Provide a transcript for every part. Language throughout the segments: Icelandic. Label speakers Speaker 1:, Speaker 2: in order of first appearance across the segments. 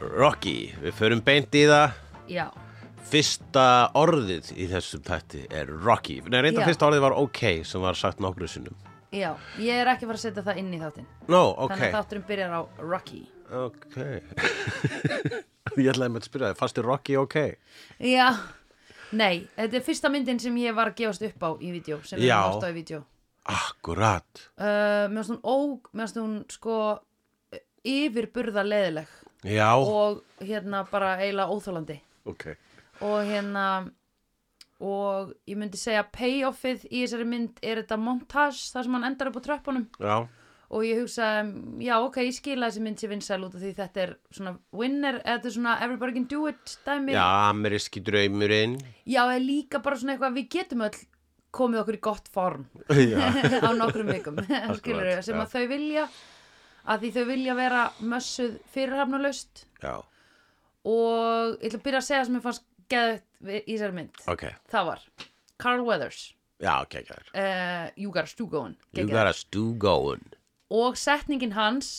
Speaker 1: Rocky, við förum beint í það
Speaker 2: Já,
Speaker 1: Fyrsta orðið í þessum þætti er Rocky Nei, reynda
Speaker 2: Já.
Speaker 1: fyrsta orðið var OK sem var sagt nokkru sinnum
Speaker 2: já, ég er ekki að fara að setja það inn í þáttinn
Speaker 1: Nó,
Speaker 2: Þannig að
Speaker 1: ok,
Speaker 2: þátturinn byrjar á Rocky
Speaker 1: ok Ég ætlaði með að spyrja þig, fannst þér Rocky ok?
Speaker 2: Já, nei, þetta er fyrsta myndin sem ég var að gefast upp á í vídeo sem ég
Speaker 1: Já.
Speaker 2: var á í vídeo
Speaker 1: Akkurat
Speaker 2: uh, Mér varst hún ó, mér varst hún sko yfirburða leðileg
Speaker 1: Já,
Speaker 2: og hérna bara eiginlega óþólandi
Speaker 1: ok
Speaker 2: og hérna og ég myndi segja payoffið í þessari mynd er þetta montage þar sem hann endar upp á tröppunum
Speaker 1: Já,
Speaker 2: og ég hugsa, um, já ok, ég skila þessi mynd sér vinsæl út af því þetta er svona winner, eða þetta er svona everybody can do it dæmi,
Speaker 1: Já ameríski draumurinn
Speaker 2: já eða líka bara svona eitthvað við getum öll komið okkur í gott form
Speaker 1: Já,
Speaker 2: á nokkrum vikum skilur
Speaker 1: Akkurat,
Speaker 2: sem
Speaker 1: já.
Speaker 2: að þau vilja að því þau vilja vera mössuð fyrirhafnalaust
Speaker 1: já,
Speaker 2: og ég ætla að byrja að segja það sem ég fannst geðvægt við- í þessari mynd
Speaker 1: ok
Speaker 2: það var Carl Weathers
Speaker 1: Já, ok, ok
Speaker 2: uh, You Gotta Stu Goin
Speaker 1: You gotta stu going
Speaker 2: og setningin hans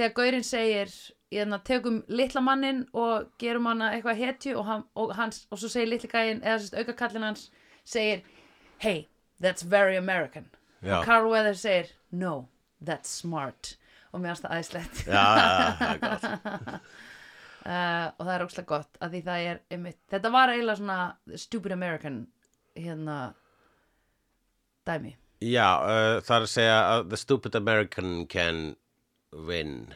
Speaker 2: þegar gaurinn segir hérna, tekum litla mannin og gerum hana eitthvað hetju og, hann, og, hans, og svo segir litli gæinn eða sérst aukakallin hans segir hey, that's very American
Speaker 1: Já.
Speaker 2: og Carl Weathers segir no, that's smart og mér hans það aðeinslegt
Speaker 1: Já, já, já, já, já
Speaker 2: uh, og það er ógslag gott að því það er einmitt, þetta var eiginlega svona stupid American hérna dæmi
Speaker 1: Já, uh, það er að segja að the stupid American can win.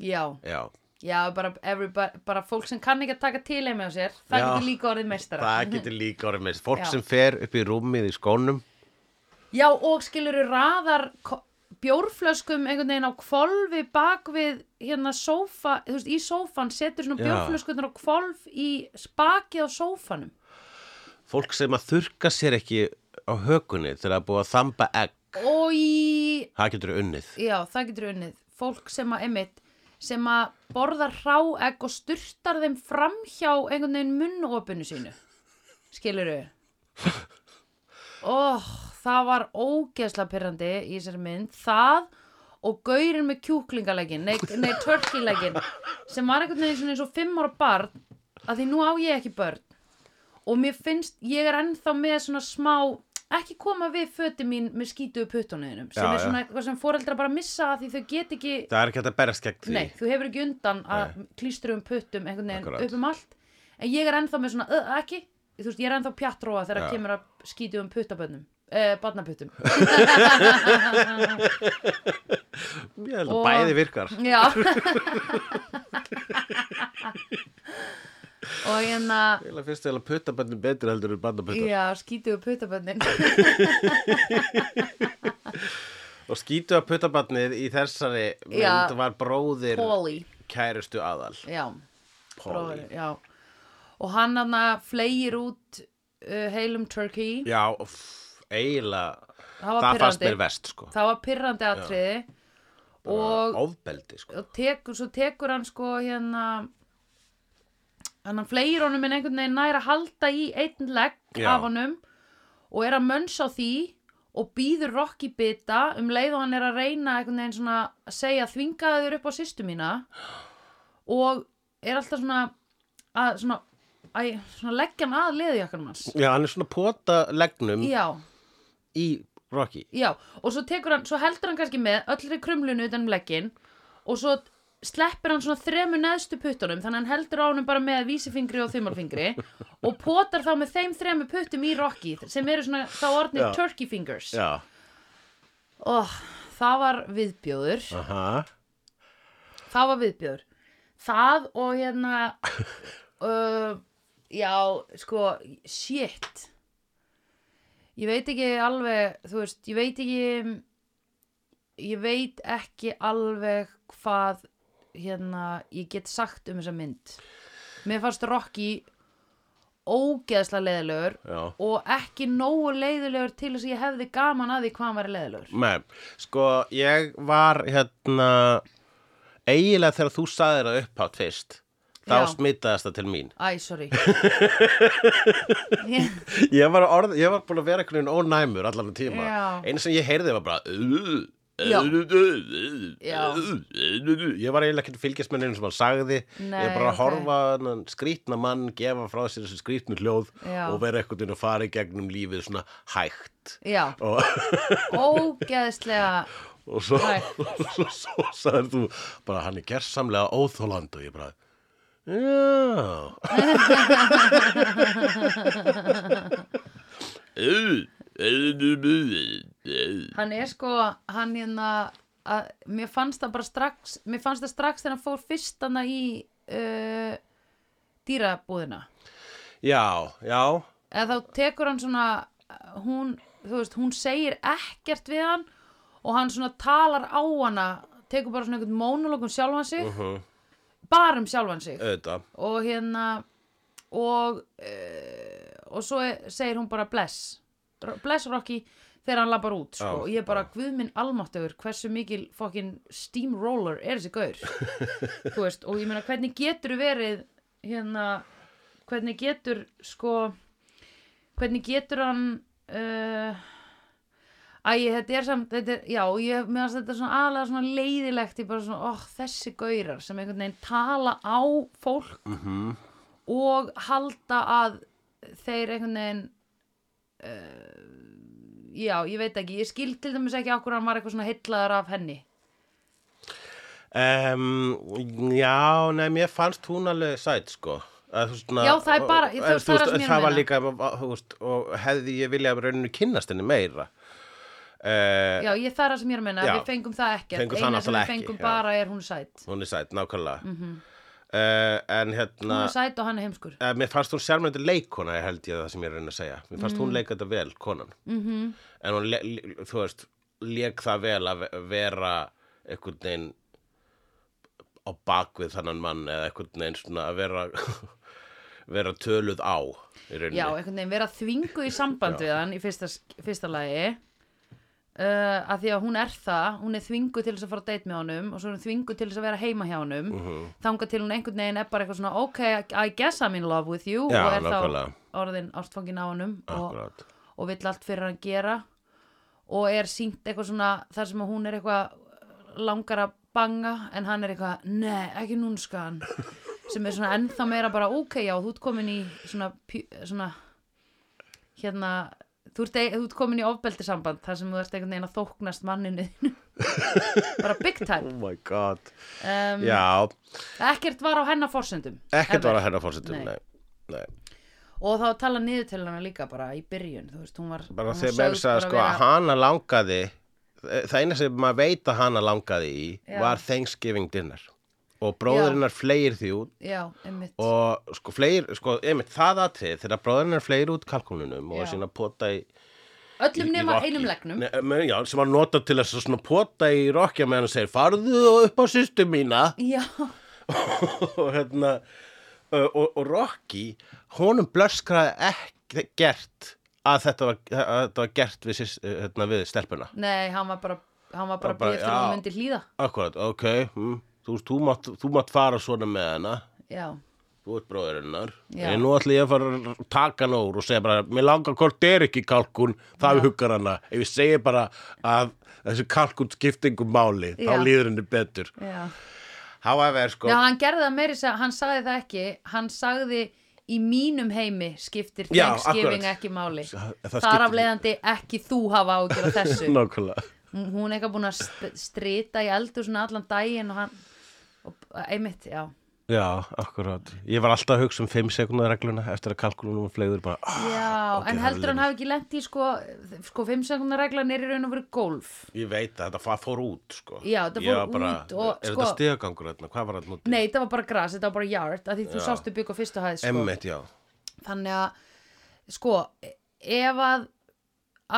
Speaker 2: já,
Speaker 1: Já,
Speaker 2: Já, bara, everybody- bara fólk sem kann ekki að taka til heim á sér, það
Speaker 1: Já.
Speaker 2: getur líka orðið meistara.
Speaker 1: það getur líka orðið með fólk
Speaker 2: Já.
Speaker 1: sem fer upp í rúmið í skónum.
Speaker 2: Já, og skilur þú raðar ko- bjórflöskum einhvern veginn á kvolfi bak við hérna sófa, þú veist, í sófan setur svona
Speaker 1: Já.
Speaker 2: bjórflöskunar á kvolf í spakið á sófanum.
Speaker 1: Fólk sem að þurka sér ekki á hökunni þegar það er búið að þamba egg.
Speaker 2: Og í,
Speaker 1: Það getur unnið.
Speaker 2: já, það getur unnið, fólk sem að, emitt, sem að borðar hráegg og styrtar þeim framhjá einhvern veginn munnopinu sínu. skilur þau oh, það var ógeðsla pyrrandi í þessari mynd það og gaurinn með kjúklingaleggin nei, nei törkileggin sem var einhvern veginn svona eins og fimm ára barn að því nú á ég ekki börn og mér finnst, ég er ennþá með svona smá ekki koma við föti mín með skítuðu puttunniðinum sem
Speaker 1: Já,
Speaker 2: er svona
Speaker 1: já.
Speaker 2: eitthvað sem foreldra bara missa að því þau get ekki
Speaker 1: Það er ekki hægt að berast gegn því.
Speaker 2: Nei, þú hefur ekki undan að klístrum puttum einhvern veginn
Speaker 1: Akkurat.
Speaker 2: upp um allt en ég er ennþá með svona, uh, ekki þú veist, ég er ennþá pjattróa þegar
Speaker 1: Já.
Speaker 2: kemur að skýtu um puttabönnum eh, barnaputtum
Speaker 1: Ég held að
Speaker 2: Og-
Speaker 1: bæði virkar.
Speaker 2: Já og hérna
Speaker 1: Ég held að fyrst eða puttaböndin betur heldur en bandaböndar.
Speaker 2: já, skýtu um puttabönnin
Speaker 1: Og skýtu að puttaböndið í þessari mynd
Speaker 2: Já.
Speaker 1: var bróðir
Speaker 2: Polly,
Speaker 1: kærustu aðal.
Speaker 2: já,
Speaker 1: Polly.
Speaker 2: bróðir, já og hann hann fleir út uh, heilum turkey
Speaker 1: Já, uff, eiginlega.
Speaker 2: það var
Speaker 1: Það fannst
Speaker 2: pyrrandi
Speaker 1: mér vest, sko.
Speaker 2: það var pyrrandi atriði og
Speaker 1: Ofbeldi, sko.
Speaker 2: og tekur, svo tekur hann sko hérna hann fleir honum en einhvern veginn nær að halda í einn legg
Speaker 1: Já.
Speaker 2: af honum og er að mönns á því og býður Rocky bita um leið og hann er að reyna einhvern veginn svona að segja þvingaðu þér upp á sýstu mína og er alltaf svona að svona, að, svona leggja hann að leðjakkanum hans
Speaker 1: Já, hann er svona pota legnum
Speaker 2: já
Speaker 1: í Rocky.
Speaker 2: Já, og svo tekur hann, svo heldur hann kannski með öllri krumlunu utan um leggin og svo sleppir hann svona þremu neðstu puttunum þannig hann heldur á honum bara með vísifingri og þumalfingri og potar þá með þeim þremu puttum í Rocky sem eru svona þá orðnir
Speaker 1: Já.
Speaker 2: turkey fingers
Speaker 1: Já.
Speaker 2: og það var viðbjóður
Speaker 1: Aha.
Speaker 2: það var viðbjör það og hérna uh, já sko shit ég veit ekki alveg þú veist, ég veit ekki ég veit ekki alveg hvað hérna ég get sagt um þessa mynd mér fannst Rocky ógeðsla leiðilegur
Speaker 1: Já.
Speaker 2: og ekki nógu leiðilegur til þess að ég hefði gaman að því hvað hann var leiðilegur
Speaker 1: Nei, sko, ég var hérna, eiginlega þegar þú saðir það upphátt fyrst, þá
Speaker 2: Já.
Speaker 1: smitaðist það til mín.
Speaker 2: Æ, sorry
Speaker 1: Ég var, orð, ég var búin að vera einhvern veginn ónæmur allan tíma.
Speaker 2: Já.
Speaker 1: Einu sem ég heyrði var bara, "Ugh."
Speaker 2: Já. Já.
Speaker 1: Ég var eiginlega ekkert að fylgjast með neinu sem hann sagði
Speaker 2: Nei,
Speaker 1: Ég er bara að
Speaker 2: ok.
Speaker 1: horfa á þennan skrýtna mann gefa frá sér þessi skrýtnu hljóð
Speaker 2: Já.
Speaker 1: og vera eitthvað að fara í gegnum lífið svona hægt
Speaker 2: Já,
Speaker 1: og,
Speaker 2: ógeðslega
Speaker 1: og svo,
Speaker 2: Hægt.
Speaker 1: svo, svo sagðir þú bara hann er gersamlega óþóland og ég bara Já
Speaker 2: hann er sko, hann hérna að, mér fannst það bara strax mér fannst það strax þegar hann fór fyrst hana í uh, dýrabúðina
Speaker 1: Já, já
Speaker 2: eða þá tekur hann svona hún, þú veist, hún segir ekkert við hann og hann svona talar á hana tekur bara svona einhvern monolog um sjálfan sig
Speaker 1: Mhm.
Speaker 2: bara um sjálfan sig
Speaker 1: auðvitað
Speaker 2: og hérna og uh, og svo er- segir hún bara bless R- bless Rocky þegar hann labbar út sko.
Speaker 1: Já,
Speaker 2: og ég bara guð minn almáttugur hversu mikil fokkin steamroller er þessi gaur þú veist og ég meina hvernig getur verið hérna hvernig getur sko hvernig getur hann uh, Æ, þetta er samt, þetta er, já, ég meðast þetta er svona aðlega svona leiðilegt, ég bara svona, óh, þessi gaurar sem einhvern veginn tala á fólk og halda að þeir einhvern veginn, uh, já, ég veit ekki, ég skil til dæmis ekki okkur hann var eitthvað svona heillaðar af henni.
Speaker 1: Um, já, nei, mér fannst hún alveg sætt, sko. Að, þú veist, svona-
Speaker 2: Já, það er bara- ég- þú
Speaker 1: en,
Speaker 2: veist, það er það sem ég er að
Speaker 1: það var
Speaker 2: meina.
Speaker 1: líka, þú veist, og hefði ég viljað að rauninu kynnast henni meira. Uh,
Speaker 2: Já, ég það er það sem ég er að menna,
Speaker 1: Já.
Speaker 2: við fengum það ekkert,
Speaker 1: Fengum það
Speaker 2: eina sem
Speaker 1: náttúrulega
Speaker 2: við
Speaker 1: ekki,
Speaker 2: fengum
Speaker 1: já.
Speaker 2: bara er hún sætt.
Speaker 1: hún er sætt, nákvæmlega. Mm uh, en hérna,
Speaker 2: Mhm. Hún er sætt og hann er heimskur.
Speaker 1: uh, mér fannst hún sjálfmyndi leikona, ég held ég það sem ég er að reyna að segja. Mér fannst hún leika þetta vel, konan.
Speaker 2: Mhm.
Speaker 1: En hún, le, le, þú veist, leik það vel að ve- vera einhvern veginn á bakvið þannan mann eða einhvern veginn svona að vera, vera töluð á í rauninni.
Speaker 2: Já, einhvern veginn vera þvingu í samband við hann í fyrsta, fyrsta lagi uh, að því að hún er það hún er þvingu til þess að fara að date með honum og svo er hún þvingu til þess að vera heima hjá honum mm
Speaker 1: Mhm.
Speaker 2: þanga til hún einhvern veginn er bara eitthvað svona ok, I guess I'm in love with you
Speaker 1: Já,
Speaker 2: og er
Speaker 1: nákvæmlega.
Speaker 2: þá orðin ástfangin á honum og,
Speaker 1: Akkurát.
Speaker 2: og vill allt fyrir hann gera og er sínt eitthvað svona þar sem að hún er eitthvað eh, langar að banga en hann er eitthvað, ne, ekki núnskan sem er svona ennþá meira bara ok, já, þú ert komin í svona, pjú- svona hérna þú ert, þú ert komin í ofbeldisamband þar sem þú ert einhvern veginn að þóknast manninu þínu. bara big time
Speaker 1: Oh my god.
Speaker 2: um,
Speaker 1: Já,
Speaker 2: ekkert var á hennar forsendum
Speaker 1: ekkert
Speaker 2: ever.
Speaker 1: var að hennar fórsetum,
Speaker 2: Nei.
Speaker 1: nei. nei.
Speaker 2: og þá tala niður til hennar líka bara í byrjun, þú veist, hún var
Speaker 1: Bara
Speaker 2: hún var
Speaker 1: þegar mér
Speaker 2: sögð
Speaker 1: sagði
Speaker 2: bara
Speaker 1: sko að
Speaker 2: vera-
Speaker 1: hana langaði, e, það eina sem maður veit að hana langaði í
Speaker 2: Já.
Speaker 1: var Thanksgiving dinner. Og bróðurinnar fleir því út
Speaker 2: já, einmitt
Speaker 1: og sko fleir, sko, einmitt það aðtrið þegar bróðurinnar fleir út kalkúnunum og
Speaker 2: Já.
Speaker 1: sína pota í...
Speaker 2: Öllum
Speaker 1: í- í
Speaker 2: nema
Speaker 1: Rocky.
Speaker 2: einum legnum
Speaker 1: Nei, men- Já, sem var notað til þess að svona pota í rokkja meðan hann segir, farðu og upp á systum mína.
Speaker 2: Já,
Speaker 1: og hérna uh, og, og Rocky honum blöskraði ekkert að þetta var, að þetta var gert við, sys- uh, hérna, við stelpuna
Speaker 2: nei, hann var bara hann var bara
Speaker 1: Hann bara,
Speaker 2: býð eftir að hún
Speaker 1: já.
Speaker 2: myndi hlýða
Speaker 1: akkurat, ok mm, þú, veist, þú, mátt, þú mátt fara svona með hana
Speaker 2: Já,
Speaker 1: þú ert bróðir hennar
Speaker 2: Já.
Speaker 1: en nú ætla ég að fara að taka hana úr og segja bara, mér langar hvort er ekki kalkun það huggar hana, ef ég segi bara að þessi kalkun skiptingu máli,
Speaker 2: Já.
Speaker 1: þá líður henni betur
Speaker 2: já
Speaker 1: Sko- however, sko
Speaker 2: Já, hann gerði það meiri sem, hann sagði það ekki Hann sagði í mínum heimi skiptir
Speaker 1: Já, akkurat.
Speaker 2: Thanksgiving ekki máli
Speaker 1: Það- það
Speaker 2: Þar af
Speaker 1: skiptir-
Speaker 2: leiðandi ekki þú hafa ágjör af þessu
Speaker 1: nákvæmlega
Speaker 2: Hún hún er eitthvað búin að st- strita í eldur svona allan daginn og hann og, einmitt, já
Speaker 1: Já, akkurát. Ég var alltaf að hugsa um 5 sekundar regluna eftir að kalkulunum fleigður bara ah,
Speaker 2: Já,
Speaker 1: ok, það
Speaker 2: en
Speaker 1: er
Speaker 2: heldur
Speaker 1: leiðin.
Speaker 2: hann hafi ekki lent í sko, sko 5 sekundar reglan er í raun og verið golf
Speaker 1: Ég veit að þetta fa- fór út, sko.
Speaker 2: Já, þetta
Speaker 1: Ég
Speaker 2: fór
Speaker 1: var bara,
Speaker 2: út og,
Speaker 1: Er
Speaker 2: sko-
Speaker 1: þetta stegagangur þarna? Hvað var þetta núti?
Speaker 2: Nei, þetta var bara gras, þetta var bara yard að því þú
Speaker 1: Já.
Speaker 2: sástu bygg á fyrstu hæð sko.
Speaker 1: Emmitt, já.
Speaker 2: þannig að sko, ef að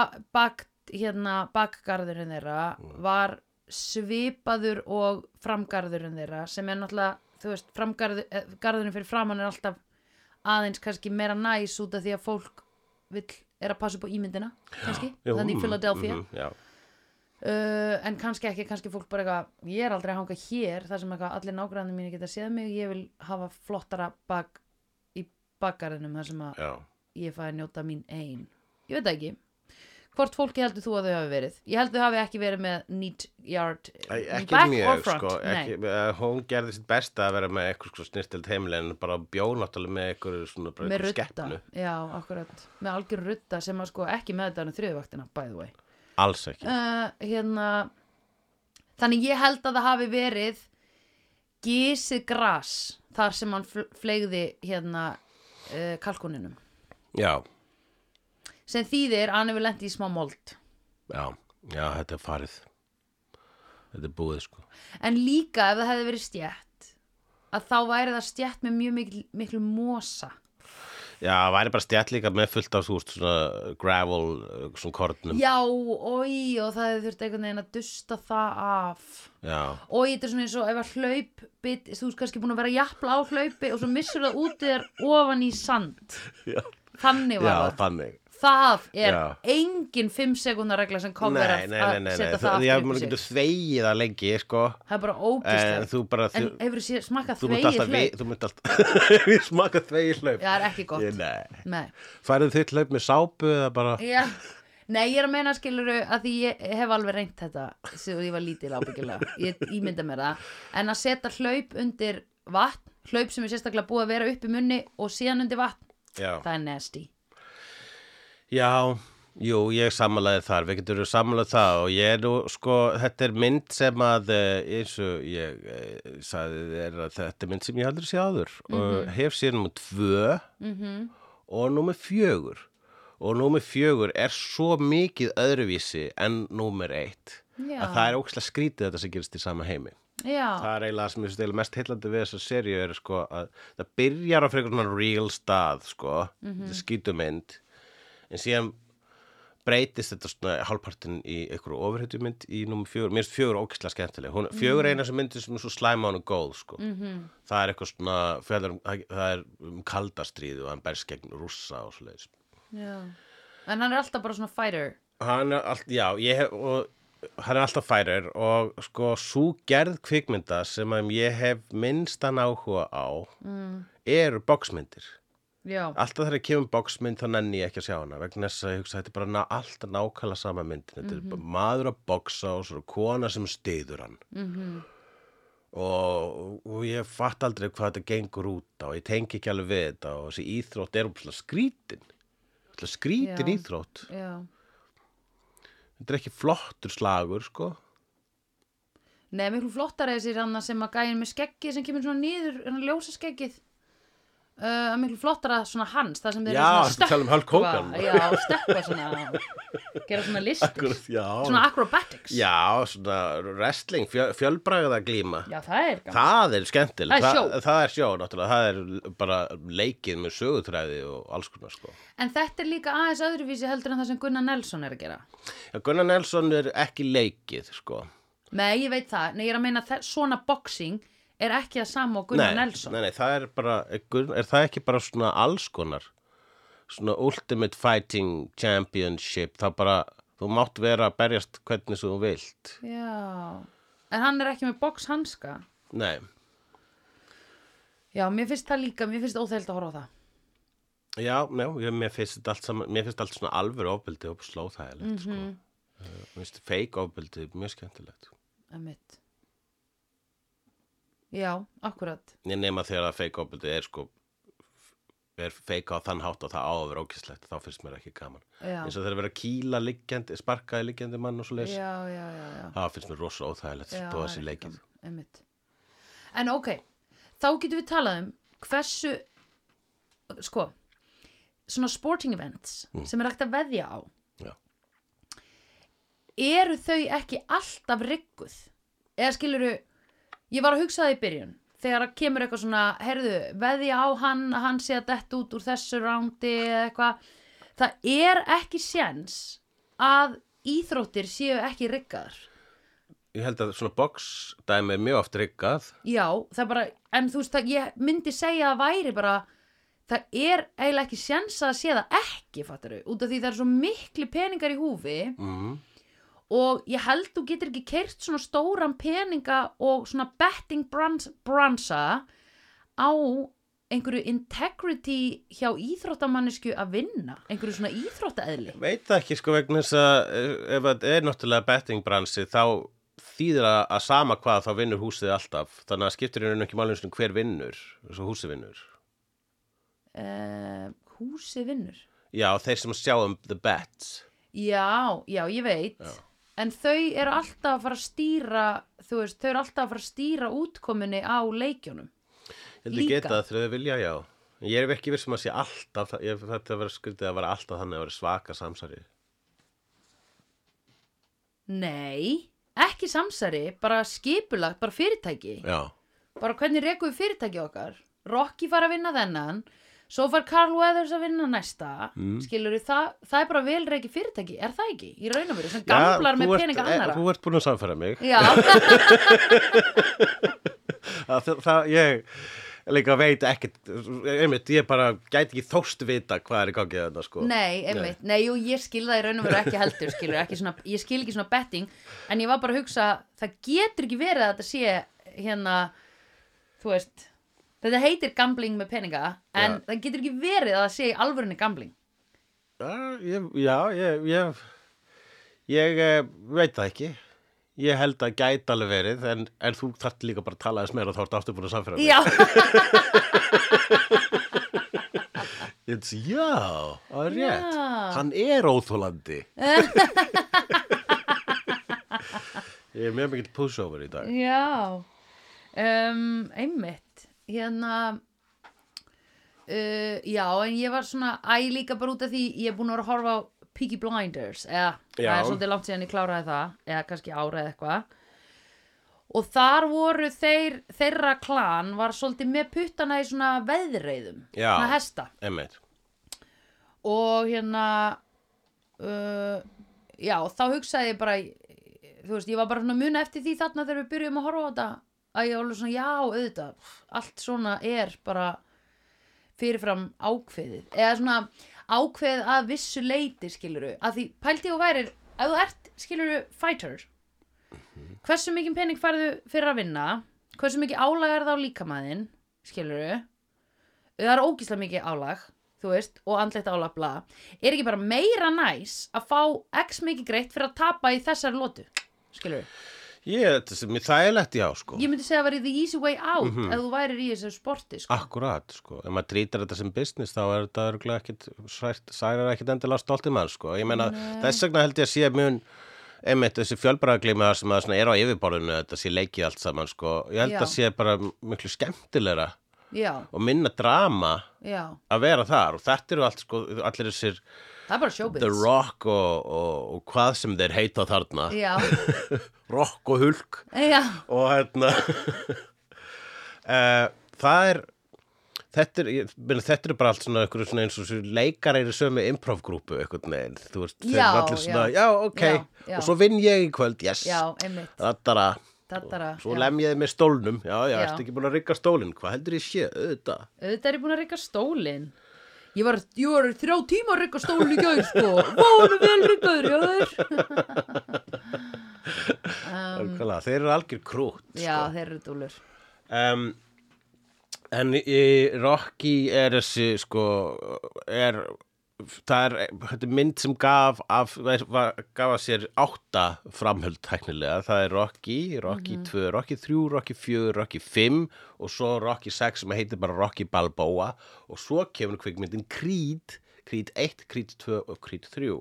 Speaker 2: a- bak, hérna bakgarðurinn þeirra
Speaker 1: Mm.
Speaker 2: var svipaður og framgarðurinn þeirra sem er náttúrulega þú veist, framgarðurinn fyrir framann er alltaf aðeins kannski meira næs út af því að fólk vill, er að passa upp á ímyndina kannski,
Speaker 1: Jú,
Speaker 2: þannig í
Speaker 1: mm,
Speaker 2: Philadelphia
Speaker 1: mhm, já.
Speaker 2: uh, en kannski ekki, kannski fólk bara eitthvað ég er aldrei að hanga hér, þar sem eitthvað allir nágræðanum mínu geta séð mig, ég vil hafa flottara bak í bakgarðinum þar sem að
Speaker 1: já.
Speaker 2: ég fæ að njóta mín ein ég veit það ekki hvort fólki heldur þú að þau hafi verið ég held þau hafi ekki verið með neat yard
Speaker 1: Æ, ekki
Speaker 2: back or
Speaker 1: mjög
Speaker 2: front
Speaker 1: sko ekki,
Speaker 2: nei,
Speaker 1: eh, hún gerði sitt besta að vera með eitthvað sko snirtild heimilin bara bjóð náttúrulega með eitthvað svona bara
Speaker 2: með
Speaker 1: einhverju
Speaker 2: rutta
Speaker 1: skepnu.
Speaker 2: já, akkurat, með algjör rutta sem að sko ekki með þetta þriðvaktina by the way
Speaker 1: alls ekki
Speaker 2: uh, hérna þannig ég held að það hafi verið gísið gras þar sem hann fl- fleygði hérna uh, kalkuninum
Speaker 1: já,
Speaker 2: sem þýðir að hann hefur lent í smá mold
Speaker 1: já, já, þetta er farið þetta er búið sko
Speaker 2: en líka ef það hefði verið stjætt að þá væri það stjætt með mjög miklu, miklu mosa
Speaker 1: já, væri bara stjætt líka með fullt af þú veist svona gravel eh, svona kornum já,
Speaker 2: já, oi, og það hefði þurft einhvern veginn að dusta það af og þetta er svona eins og ef að hlaup bit, þú veist kannski búin að vera jafnla á hlaupi og svo missur það út þér ofan í sand
Speaker 1: já,
Speaker 2: þannig
Speaker 1: já
Speaker 2: var það
Speaker 1: þannig
Speaker 2: Það er
Speaker 1: Já.
Speaker 2: engin 5 sekundar regla sem kom
Speaker 1: nei,
Speaker 2: verið
Speaker 1: nei,
Speaker 2: að
Speaker 1: nei, nei, nei.
Speaker 2: setja
Speaker 1: Þú,
Speaker 2: það
Speaker 1: já,
Speaker 2: aftur upp
Speaker 1: maður
Speaker 2: í sig.
Speaker 1: getur þvegið það lengi sko
Speaker 2: Það er bara
Speaker 1: en
Speaker 2: ógíslega.
Speaker 1: þú bara
Speaker 2: En
Speaker 1: þú,
Speaker 2: hefur þú smakað
Speaker 1: þú mynd
Speaker 2: þvegið
Speaker 1: alltaf við,
Speaker 2: hlaup?
Speaker 1: þú mynd alltaf við smaka þvegið hlaup
Speaker 2: Já, það er ekki gott.
Speaker 1: Ég- nei
Speaker 2: Nei.
Speaker 1: Færið þitt hlaup með sápu eða bara
Speaker 2: Já. Nei, ég er að meina skiluru að því ég hef alveg reynt þetta sem ég var lítil ábyggilega. Ég ímynda mér það. En að setja hlaup undir vatn, hlaup sem er sérstaklega búið að vera upp í munni og síðan undir vatn,
Speaker 1: Já,
Speaker 2: það er nasty.
Speaker 1: já jú, ég samanlaði þar, við getur samanlaði það og ég er nú, sko, þetta er mynd sem að, eh, eins og ég eh, sagði þér að þetta er mynd sem ég aldrei sé áður og hef sér nummer tvö og nummer fjögur og nummer fjögur er svo mikið öðruvísi en nummer eitt
Speaker 2: Já.
Speaker 1: að það er ókslega skrítið þetta sem gerist í sama heimi.
Speaker 2: Já,
Speaker 1: það er eiginlega sem ég finnst eiginlega mest heillandi við þessa seríu er sko að það byrjar á frekar svona real stað sko, mm -hmm. skítumynd en síðan breytist þetta svona hálfpartin í einhverju ofurhetjumynd í nummer fjögur, mér finnst fjögur ókislega skemmtileg, hún, fjögur er eina sem myndir sem er svo slæma hann og góð sko -hmm. það er eitthvað svona, fjallar, um- það það er um kaldastríðu og hann berst gegn rússa og svoleiðis
Speaker 2: já. En hann er alltaf bara svona fighter.
Speaker 1: hann er allt, já, ég hef og, hann er alltaf færir og sko svo gerð kvikmynda sem að ég hef minnstan áhuga á mm. eru boxmyndir
Speaker 2: Já,
Speaker 1: alltaf þegar ég kemur boxmynd þá nenni ég ekki að sjá hana vegna þess að ég hugsa þetta er bara ná, alltaf nákvæmlega sama mynd þetta er bara maður að boxa og svo er kona sem stiður hann -hmm. og, og ég fatt aldrei hvað þetta gengur út á ég tengi ekki alveg við þetta og þessi íþrótt er um skrítin skrítin
Speaker 2: Já.
Speaker 1: íþrótt
Speaker 2: já.
Speaker 1: þetta er ekki flottur slagur sko
Speaker 2: Nei, miklu flottar er þessir hann sem að gæin með skeggið sem kemur svona niður, hann ljósa skeggið uh, miklu flottar að svona hans þar sem þeir
Speaker 1: Já,
Speaker 2: eru
Speaker 1: ertu að
Speaker 2: svona
Speaker 1: tala um Hulk Hogan?
Speaker 2: já, stökkva svona gera svona listir, svona
Speaker 1: já,
Speaker 2: acrobatics
Speaker 1: já svona wrestling, fjö, fjölbragða glíma
Speaker 2: Já, það er gaman
Speaker 1: það er skemmtilegt
Speaker 2: Það er sjó.
Speaker 1: það, það er sjó, náttúrulega það er bara leikið með sögutræði og alls konar sko
Speaker 2: En þetta er líka aðeins öðruvísi heldur en það sem Gunnar Nelson er að gera
Speaker 1: já, Gunnar Nelson er ekki leikið sko
Speaker 2: Nei, ég veit það, nei, ég er að meina þe- svona boxing er ekki að sama og Gunnar
Speaker 1: nei,
Speaker 2: Nelson
Speaker 1: nei, nei, það er bara, er Gunn- er það ekki bara svona alls konar svona ultimate fighting championship það bara, þú mátt vera að berjast hvernig sem þú vilt
Speaker 2: Já, en hann er ekki með boxhanska
Speaker 1: nei,
Speaker 2: Já, mér finnst það líka, mér finnst óþægild að horfa á það
Speaker 1: Já, já, ég, mér finnst þetta allt saman, mér finnst allt svona alvöru ofbeldi og slóþægilegt, mm
Speaker 2: Mhm.
Speaker 1: -hmm. sko. Eh, Mér finnst fake ofbeldi mjög skemmtilegt.
Speaker 2: Emitt. Já, akkurat.
Speaker 1: Ég nema þegar að fake ofbeldi er sko, er fake á þann hátt og það á að vera ókislegt, þá finnst mér ekki gaman.
Speaker 2: Já,
Speaker 1: Eins og þegar að vera kýla liggjandi, sparkaði liggjandi mann og svo leys,
Speaker 2: já, já, já. já.
Speaker 1: það finnst mér rosa óþægilegt,
Speaker 2: já
Speaker 1: þó að sé leikið.
Speaker 2: Emitt. En ok, þá getum við talað um hversu, sko, svona sporting events sem er hægt að veðja á,
Speaker 1: Mm. Já.
Speaker 2: eru þau ekki alltaf rigguð? Eða skiluru, ég var að hugsa það í byrjun þegar að kemur eitthvað svona, herðu, veðja á hann, að hann sé að detta út úr þessu rándi eða eitthvað. Það er ekki séns að íþróttir séu ekki riggaðar.
Speaker 1: Ég held að svona box dæmi er mjög oft riggað,
Speaker 2: Já, það er bara, en þú veist, það, ég myndi segja að væri bara, það er eiginlega ekki séns að sé það ekki, fattaru, út af því það er svo miklu peningar í húfi Mhm.
Speaker 1: mm,
Speaker 2: og ég held þú getur ekki keirt svona stóran peninga og svona betting brans, bransa á einhverju integrity hjá íþróttamannisku að vinna einhverju svona íþróttaeðli
Speaker 1: Veit það ekki sko vegna þess að eh, ef það er náttúrulega bettingbransi þá þýðir að að sama hvað þá vinnur húsið alltaf þannig að skiptir í raun ekki málum sinni hver vinnur svo húsið vinnur
Speaker 2: uh, húsi vinnur
Speaker 1: Já, þeir sem sjá um the bets
Speaker 2: já, já, ég veit en þau eru alltaf að fara að stýra þú veist, þau eru alltaf að fara að stýra útkominni á leikjónum
Speaker 1: Heldur
Speaker 2: Líka.
Speaker 1: geta það þegar þau vilja, já En Ég er ekki vissum að sé alltaf það- ég, þetta verður skuldið að vera alltaf þannig að vera svaka samsari
Speaker 2: nei, ekki samsari bara skipulagt, bara fyrirtæki
Speaker 1: Já,
Speaker 2: bara hvernig rekum við fyrirtæki okkar Rocky fara að vinna þennan svo far Carl Weathers að vinna næsta mm. skilur við það, það er bara vel reiki fyrirtæki er það ekki, í raun og veru sem gamlar með
Speaker 1: þú ert-
Speaker 2: peninga
Speaker 1: eh,
Speaker 2: annara
Speaker 1: Þú ert búin að samfæra mig
Speaker 2: já,
Speaker 1: það, það, það, Ég líka veit ekkert einmitt, Ég bara gæti ekki þóst vita hvað er í gangi þetta sko
Speaker 2: nei, einmitt, nei, jú, ég skil það í raun og veru ekki heldur skilur, ekki svona, ég skil ekki svona betting en ég var bara að hugsa, það getur ekki verið að þetta sé hérna þú veist, þetta heitir gambling með peninga, en það getur ekki verið að það sé í alvörunni gambling
Speaker 1: Já, ég, já, ég, ég, ég eh, veit það ekki. Ég held að gæti alveg verið, en, en þú þarft líka bara að tala þess meira þá ertu aftur búin að samfæra mig.
Speaker 2: já,
Speaker 1: Ég þessi, já, það er rétt.
Speaker 2: Já.
Speaker 1: Hann er óþólandi. ég er mjög mikill pushover í dag.
Speaker 2: Já, um, einmitt, hérna, uh, já, en ég var svona, æ, líka bara út af því, ég er búin að vera að horfa á Peaky Blinders, eða,
Speaker 1: Já.
Speaker 2: það er svolítið langt síðan ég kláraði það, eða kannski ára eða eitthvað, og þar voru þeir, þeirra klan var svolítið með puttana í svona veðreiðum,
Speaker 1: Já.
Speaker 2: svona hesta,
Speaker 1: Emmett.
Speaker 2: og hérna, uh, já, þá hugsaði ég bara, þú veist, ég var bara svona að muna eftir því þarna þegar við byrjum að horfa á þetta að ég var alveg svona, já, auðvitað pff, allt svona er bara fyrirfram ákveðið eða svona ákveðið að vissu leiti skiluru, að því pælti og værir ef þú ert, skiluru, fighter hversu mikið pening færðu fyrir að vinna, hversu mikið álag er það á líkamæðin, skiluru það er ógislega mikið álag þú veist, og andlegt álag bla er ekki bara meira næs að fá x mikið greitt fyrir að tapa í þessari lotu skilur
Speaker 1: Ég, þetta sem ég þægilegt já, sko.
Speaker 2: ég myndi segja að verið the easy way out
Speaker 1: Mhm.
Speaker 2: ef þú værir í þessu sporti sko.
Speaker 1: Akkurát, sko. Ef maður trýtar þetta sem business, þá er þetta örgulega ekkit, sært, særar ekkit endilega stoltið mann, sko. Ég meina, þess vegna held ég að sé mun, einmitt, þessi fjölbræðaglíma sem að svona er á yfirborðinu, þetta sé leikið allt saman, sko. Ég held
Speaker 2: Já.
Speaker 1: að sé bara miklu skemmtilegra
Speaker 2: já,
Speaker 1: og minna drama
Speaker 2: já,
Speaker 1: að vera þar og þetta eru allt, sko, allir þessir
Speaker 2: það er bara showbiz
Speaker 1: The Rock og, og, og hvað sem þeir heita þarna.
Speaker 2: já,
Speaker 1: Rock og Hulk.
Speaker 2: já,
Speaker 1: og hérna uh, það er þetta er, ég, meina, þetta er bara allt svona, einhverju svona eins og svona leikar eru sömu improv-grúpu einhvern veginn, þú veist, þeir
Speaker 2: Já,
Speaker 1: eru allir svona
Speaker 2: já.
Speaker 1: já, ok,
Speaker 2: Já, já.
Speaker 1: og svo vinn ég í kvöld, yes
Speaker 2: já, einmitt
Speaker 1: Tattara.
Speaker 2: Tattara,
Speaker 1: svo
Speaker 2: já.
Speaker 1: lem ég þið með stólnum já, já,
Speaker 2: Já.
Speaker 1: ertu ekki búin að rigga stólinn, hvað heldur ég sé auðvitað,
Speaker 2: auðvitað er ég búin að reyka stólinn ég var, ég var þrjá tíma að reyka stólinn í gæð sko, vánu vel reykaður jáður
Speaker 1: Sko. um, þeir eru algjör krútt sko.
Speaker 2: já, þeir eru dúlur
Speaker 1: um, en í Rocky er þessi sko er það er, þetta er mynd sem gaf af, var, gaf að sér átta framhöld tæknilega, það er Rocky Rocky 2, Rocky 3, Rocky 4 Rocky 5 og svo Rocky 6 sem heitir bara Rocky Balboa og svo kemur kvikmyndin Creed Creed 1, Creed 2 og Creed 3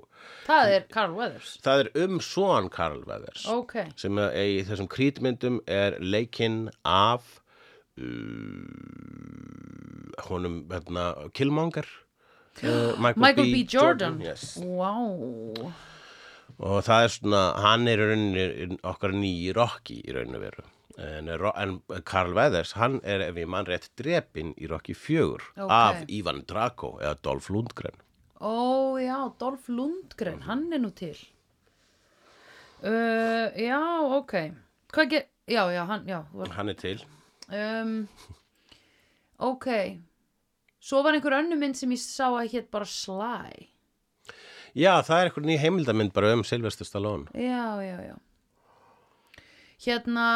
Speaker 2: það er Carl Weathers
Speaker 1: það er um svoan Karl Weathers
Speaker 2: ok,
Speaker 1: sem er, í þessum krítmyndum er leikinn af uh, honum hérna, Killmonger uh, Michael,
Speaker 2: Michael B. Jordan,
Speaker 1: yes.
Speaker 2: wow
Speaker 1: og það er svona, hann er í rauninni okkar nýji Rocky í rauninu veru en, Ro- en Karl Weathers, hann er ef ég mann rétt drepinn í Rocky 4
Speaker 2: Ok.
Speaker 1: af Ivan Drago eða Dolph Lundgren
Speaker 2: Ó, já, Dolph Lundgren, hann er nú til. Uh, já, ok. Hvað ger... Já, já, hann, já. þú var-
Speaker 1: hann er til
Speaker 2: Um, ok. Svo var einhver önnur mynd sem ég sá að hétt bara Sly.
Speaker 1: já, það er eitthvað ný heimildamind bara um Sylvester Stallone
Speaker 2: Já, já, já. Hérna,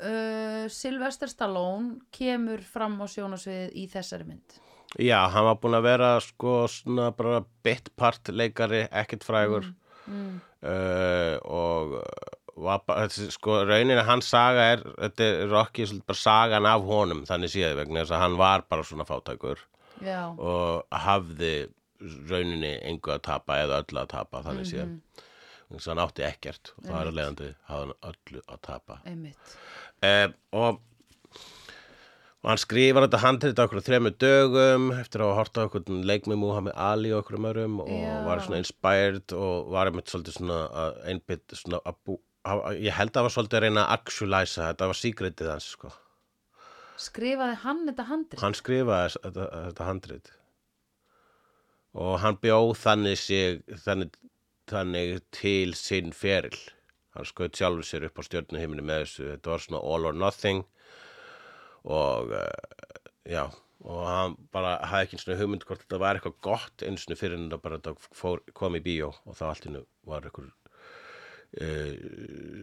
Speaker 2: uh, Sylvester Stallone kemur fram á sjónasviðið í þessari mynd
Speaker 1: Já, hann var búin að vera sko svona bara bitpart leikari, ekkert frægur
Speaker 2: mm.
Speaker 1: uh, og var bara, þessi- sko raunin að hans saga er, þetta er Rocky er svolítið bara sagan af honum þannig síðan vegna þess að hann var bara svona fátækur
Speaker 2: Já,
Speaker 1: og hafði rauninni engu að tapa eða öllu að tapa þannig séð
Speaker 2: Mhm.
Speaker 1: þannig að hann átti ekkert og það er að leiðandi hafði hann öllu að tapa
Speaker 2: einmitt
Speaker 1: eh, og og hann skrifar þetta handrið okkur á þremur dögum eftir að hafa horft á okkur leik með Muhammad Ali og okkur um örum og
Speaker 2: Já.
Speaker 1: var svona inspired og var einmitt svolítið svona að einbytt svona að bú hafa- ég held að það var svolítið að reyna að actualiza þetta var secretið hans sko
Speaker 2: Skrifaði hann þetta handrið?
Speaker 1: hann skrifaði þess- þetta, þetta handrit og hann bjóð þannig sig þannig, þannig til sinn feril hann skaut sjálfur sér upp á stjörnuhimni með þessu þetta var svona all or nothing og uh, já og hann bara hafði ekki svona hugmynd hvort þetta var eitthvað gott einu sinni fyrir en það bara þetta fór, kom í bíó og þá allt innu var einhver uh,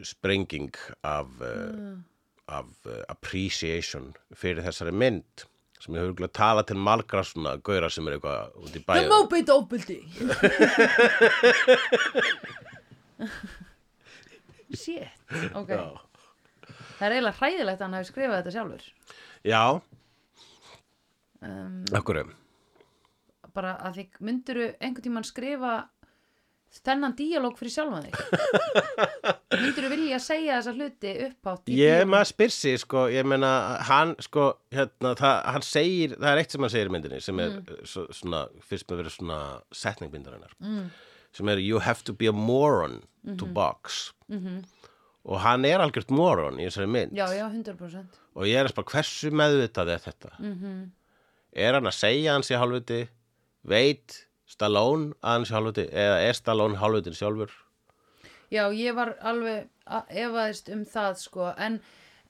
Speaker 1: sprenging af uh,
Speaker 2: Mm.
Speaker 1: af uh, appreciation fyrir þessari mynd sem ég hefur tala til margra svona gauðra sem er eitthvað út í
Speaker 2: Það
Speaker 1: bæja
Speaker 2: má beita ofbeldi Shit, ok
Speaker 1: já.
Speaker 2: Það er eiginlega hræðilegt að hann hafi skrifað þetta sjálfur
Speaker 1: já,
Speaker 2: um,
Speaker 1: af hverju
Speaker 2: bara að þig myndiru einhvern tímann skrifa þennan díalóg fyrir sjálfan þig myndiru vilja segja þessa hluti upphátt í
Speaker 1: ég
Speaker 2: bíómynd?
Speaker 1: maður spyr sig sko, ég meina hann sko, hérna, það, hann segir það er eitt sem hann segir í myndinni sem er mm. svona, fyrst með verið svona setningbindarinnar, mm. sem er you have to be a moron to
Speaker 2: Mhm.
Speaker 1: box -hmm. og hann er algjört moron í þessari mynd
Speaker 2: já, já, 100%
Speaker 1: og ég er að spara hversu meðvitað er þetta -hmm.
Speaker 2: Mhm.
Speaker 1: er hann að segja hans í halvuti veit Stallone að hans í halvuti eða er Stallone halvutin sjálfur
Speaker 2: já, ég var alveg a- efaðist um það sko en,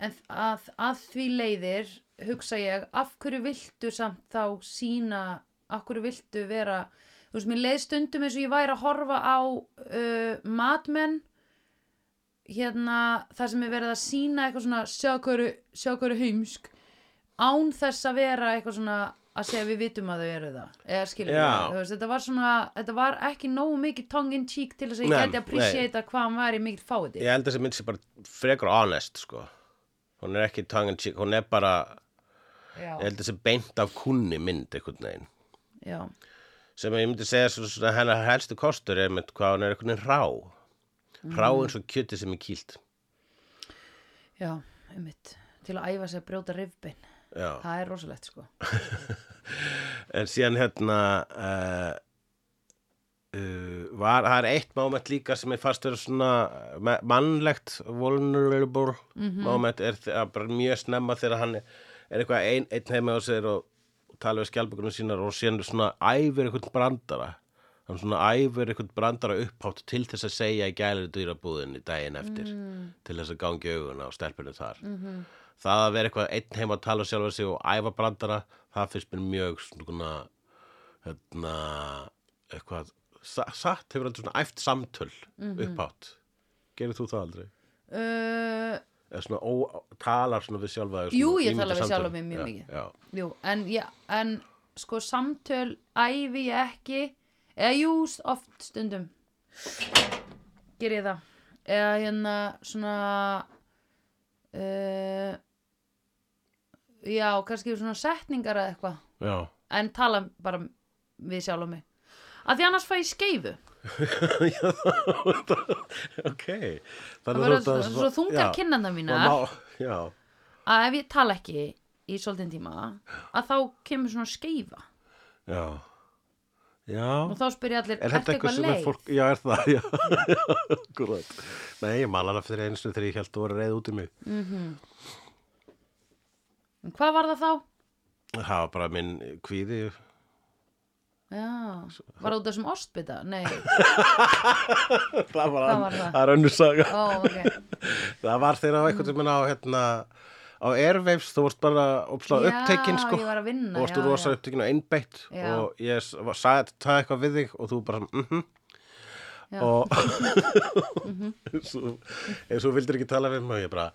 Speaker 2: en að, að því leiðir hugsa ég, af hverju viltu samt þá sína af hverju viltu vera þú veist, mér leið stundum eins og ég væri að horfa á uh, matmenn hérna það sem er verið að sína eitthvað svona sjá hverju, sjá hverju heimsk án þess að vera eitthvað svona að segja við vitum að þau eru það eða skiljum
Speaker 1: Já.
Speaker 2: það, þú veist, þetta var svona þetta var ekki nógu mikið tongue in cheek til þess að ég
Speaker 1: Nei,
Speaker 2: gæti að appreciata hvað hann væri mikið fáiði
Speaker 1: ég held að þessi mynd sé bara frekar honest sko. hún er ekki tongue in cheek hún er bara,
Speaker 2: já,
Speaker 1: ég held að þessi beint af kunni mynd einhvern veginn
Speaker 2: já,
Speaker 1: sem ég myndi segja svona, svona hennar helstu kostur er mynd hvað hún er einhvern veginn rá rá eins og kjöti sem er kýlt
Speaker 2: já, einmitt til að æfa sig að brjóta rifbein
Speaker 1: já
Speaker 2: það er rosalegt sko
Speaker 1: En síðan hérna uh, uh, var, það er eitt moment líka sem ég fast vera svona uh, mannlegt vulnerable moment er þegar bara mjög snemma þegar hann er eitthvað ein, einn heima á sér og tala við skjálpugunum sínar og síðan svona æfir eitthvað brandara hann svona æfir eitthvað brandara upphátt til þess að segja í gælir dýrabúðinni daginn eftir til þess að gangi auguna á stelpunum þar -hmm. það að vera eitthvað einn heima að tala sjálfa sig og æfa brandara það finnst mér mjög svona hérna, eitthvað sa- satt hefur aldrei svona æft samtöl
Speaker 2: Mhm.
Speaker 1: upphátt gerir þú það aldrei?
Speaker 2: uh,
Speaker 1: eða svona ó, talar svona við sjálfa þig,
Speaker 2: Jú,
Speaker 1: svona
Speaker 2: ég tala
Speaker 1: ímynda
Speaker 2: við
Speaker 1: samtöl.
Speaker 2: sjálfa mig mjög
Speaker 1: já,
Speaker 2: mikið.
Speaker 1: já.
Speaker 2: Jú, en, já, en sko samtöl æfi ég ekki eða jú, oft stundum ger ég það eða hérna svona uh, já, kannski svona setningar eða eitthvað,
Speaker 1: já,
Speaker 2: en tala bara við sjálf og mig að því annars fæ ég skeifu
Speaker 1: ok
Speaker 2: það
Speaker 1: þannig
Speaker 2: verður
Speaker 1: ert
Speaker 2: svo, svo þungar
Speaker 1: já.
Speaker 2: kinnanda mínar
Speaker 1: Má- já,
Speaker 2: að ef ég tala ekki í svolítinn tíma að þá kemur svona skeifa
Speaker 1: já já
Speaker 2: og þá spyr ég allir,
Speaker 1: Er þetta
Speaker 2: ertu
Speaker 1: eitthvað sem er
Speaker 2: leið?
Speaker 1: fólk, já er það, já, akkurat. Nei, ég man alveg fyrir einu sinni þegar ég held þú var reið út í mig.
Speaker 2: En Hvað var það þá?
Speaker 1: Það var bara minn kvíði,
Speaker 2: Já, var það út af þessum ostbita? Nei,
Speaker 1: það var,
Speaker 2: Hvað
Speaker 1: ann-
Speaker 2: var það?
Speaker 1: það er önnur saga.
Speaker 2: ó, ok
Speaker 1: Það var þegar á eitthvað sem er á hérna á Airwaves, þú vorst bara uppsláð upptekinn sko
Speaker 2: Já, ég var að vinna
Speaker 1: og varstu
Speaker 2: já,
Speaker 1: rosa
Speaker 2: já.
Speaker 1: upptekinn og einbeitt
Speaker 2: Já.
Speaker 1: og ég s- var- sagði þetta eitthvað við þig og þú bara mm
Speaker 2: Já.
Speaker 1: "Mhm." og Mhm. eins og eins og þú vildir ekki tala við mig og ég bara,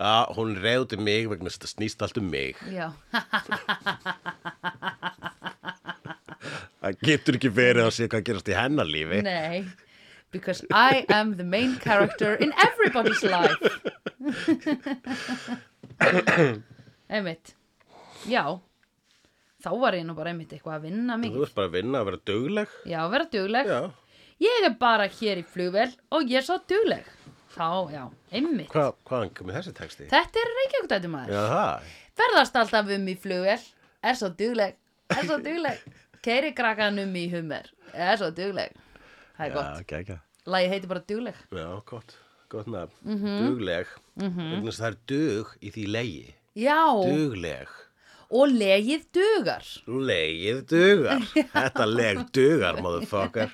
Speaker 1: já, hún reyði út um mig vegna þess að þetta snýst allt um mig
Speaker 2: já,
Speaker 1: það getur ekki verið að sé hvað gerast í hennar lífi
Speaker 2: nei because I am the main character in everybody's life einmitt já þá var ég nú bara einmitt eitthvað að vinna
Speaker 1: þú
Speaker 2: mikið
Speaker 1: ert bara að vinna að vera dugleg
Speaker 2: já, vera dugleg
Speaker 1: já,
Speaker 2: ég er bara hér í flugvel og ég er svo dugleg þá, já, einmitt
Speaker 1: Hva, hvaðan komið þessi texti?
Speaker 2: þetta er reykjagutættu maður
Speaker 1: já, það,
Speaker 2: ferðast alltaf um í flugvel er svo dugleg, er svo dugleg keiri krakkan um í hummer er svo dugleg, það er
Speaker 1: já,
Speaker 2: gott
Speaker 1: gækja
Speaker 2: lagi heiti bara dugleg
Speaker 1: já, gott, gott nafn
Speaker 2: Mhm.
Speaker 1: dugleg, vegna þess að það er dug í því legi,
Speaker 2: já,
Speaker 1: dugleg
Speaker 2: og legið dugar
Speaker 1: Legið dugar Þetta leg dugar, motherfucker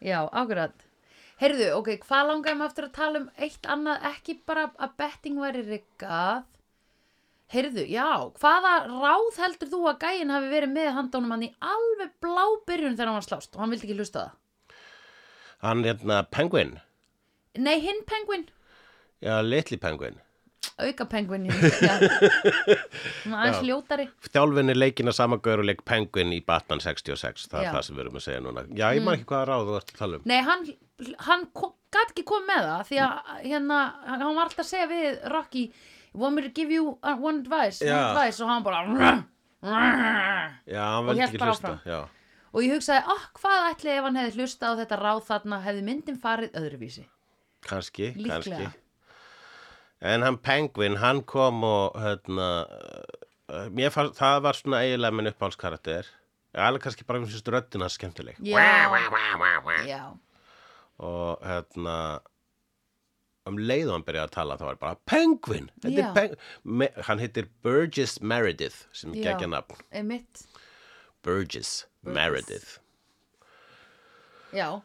Speaker 2: já, akkurat heyrðu, ok, hvað langaðum aftur að tala um eitt annað, ekki bara að betting væri riggað heyrðu, já, hvaða ráð heldur þú að gæinn hafi verið með handónum hann í alveg blábyrjun þegar hann var að slást og hann vildi ekki hlusta á það
Speaker 1: Hann hérna penguin
Speaker 2: nei, hinn penguin
Speaker 1: Já, litli penguin
Speaker 2: auka penguin aðeins ljótari
Speaker 1: Þjálfin er leikin að samagaur og leik penguin í Batman 66 Það
Speaker 2: Já. Mm.
Speaker 1: er það sem við erum að segja núna Já, ég maður ekki hvaða ráð þú ert að tala um
Speaker 2: nei, hann, hann gæti ekki komið með það því að hérna, hann hann var alltaf að segja við Rocky, want me to give you uh, one advice, one
Speaker 1: Já.
Speaker 2: advice og hann bara
Speaker 1: Já, hann
Speaker 2: Og
Speaker 1: veldi
Speaker 2: hélt
Speaker 1: ekki
Speaker 2: bara
Speaker 1: hlusta
Speaker 2: áfram.
Speaker 1: Já,
Speaker 2: og ég hugsaði, oh, hvað ætli ef hann hefði hlusta á þetta ráð þarna hefði myndin farið öðruvísi
Speaker 1: kannski,
Speaker 2: Líklega.
Speaker 1: kannski En hann penguin, hann kom og hérna eh, Mér fannst, það var svona eiginlega minn uppáhaldskarakter Já, alveg kannski bara mér finnst röddina skemmtileg
Speaker 2: já, já,
Speaker 1: og hérna um leið og hann byrjaði að tala þá var bara Penguin, þetta
Speaker 2: Já.
Speaker 1: er peng Me, hann heitir Burgess Meredith sem
Speaker 2: Já.
Speaker 1: er ekki nafn,
Speaker 2: einmitt
Speaker 1: Burgess, Meredith
Speaker 2: já,
Speaker 1: uh,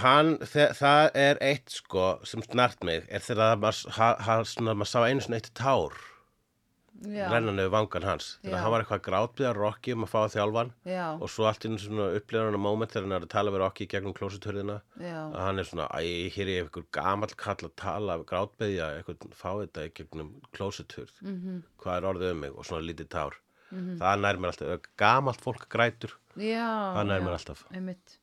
Speaker 1: hann, þe- það er eitt sko sem snart mig er þegar maður ha, ha, svona, maður sá einu svona eitt tár
Speaker 2: já,
Speaker 1: rennan yfir vangan hans
Speaker 2: Já.
Speaker 1: þegar hann var eitthvað grátbyða Rocky um að fá að þjálfan
Speaker 2: já,
Speaker 1: og svo allt inn svona upplifur hann að moment þegar hann er að tala við Rocky í gegnum klósuturðina
Speaker 2: já,
Speaker 1: að hann er svona, æ, hér er einhver gamall kall að tala, grátbeðja eitthvað, fá þetta í gegnum klósuturð
Speaker 2: Mhm.
Speaker 1: -hmm. hvað er orðið um mig og svona lítið tár -hmm. það nær mér alltaf, gamalt fólk grætur
Speaker 2: já
Speaker 1: það nær
Speaker 2: já.
Speaker 1: mér alltaf
Speaker 2: einmitt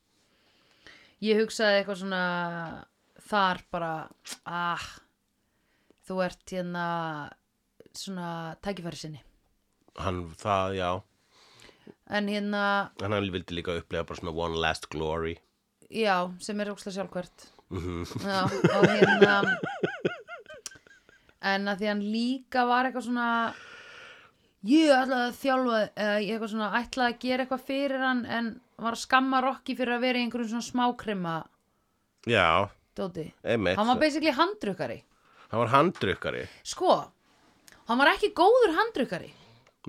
Speaker 2: ég hugsaði eitthvað svona þar bara ah, þú ert hérna svona tækifæri sinni
Speaker 1: hann, það, já,
Speaker 2: en hérna,
Speaker 1: en hann vildi líka upplega bara svona one last glory
Speaker 2: já, sem er ókslega sjálfkvært já, og hérna en að því hann líka var eitthvað svona ég ætlaði að þjálfa eða ég eitthvað svona ætlaði að gera eitthvað fyrir hann en var að skamma Rokki fyrir að vera í einhverjum svona smákrema
Speaker 1: já,
Speaker 2: dóti,
Speaker 1: einmitt,
Speaker 2: hann var basically handrukkari
Speaker 1: hann var handrukkari
Speaker 2: sko, hann var ekki góður handrukari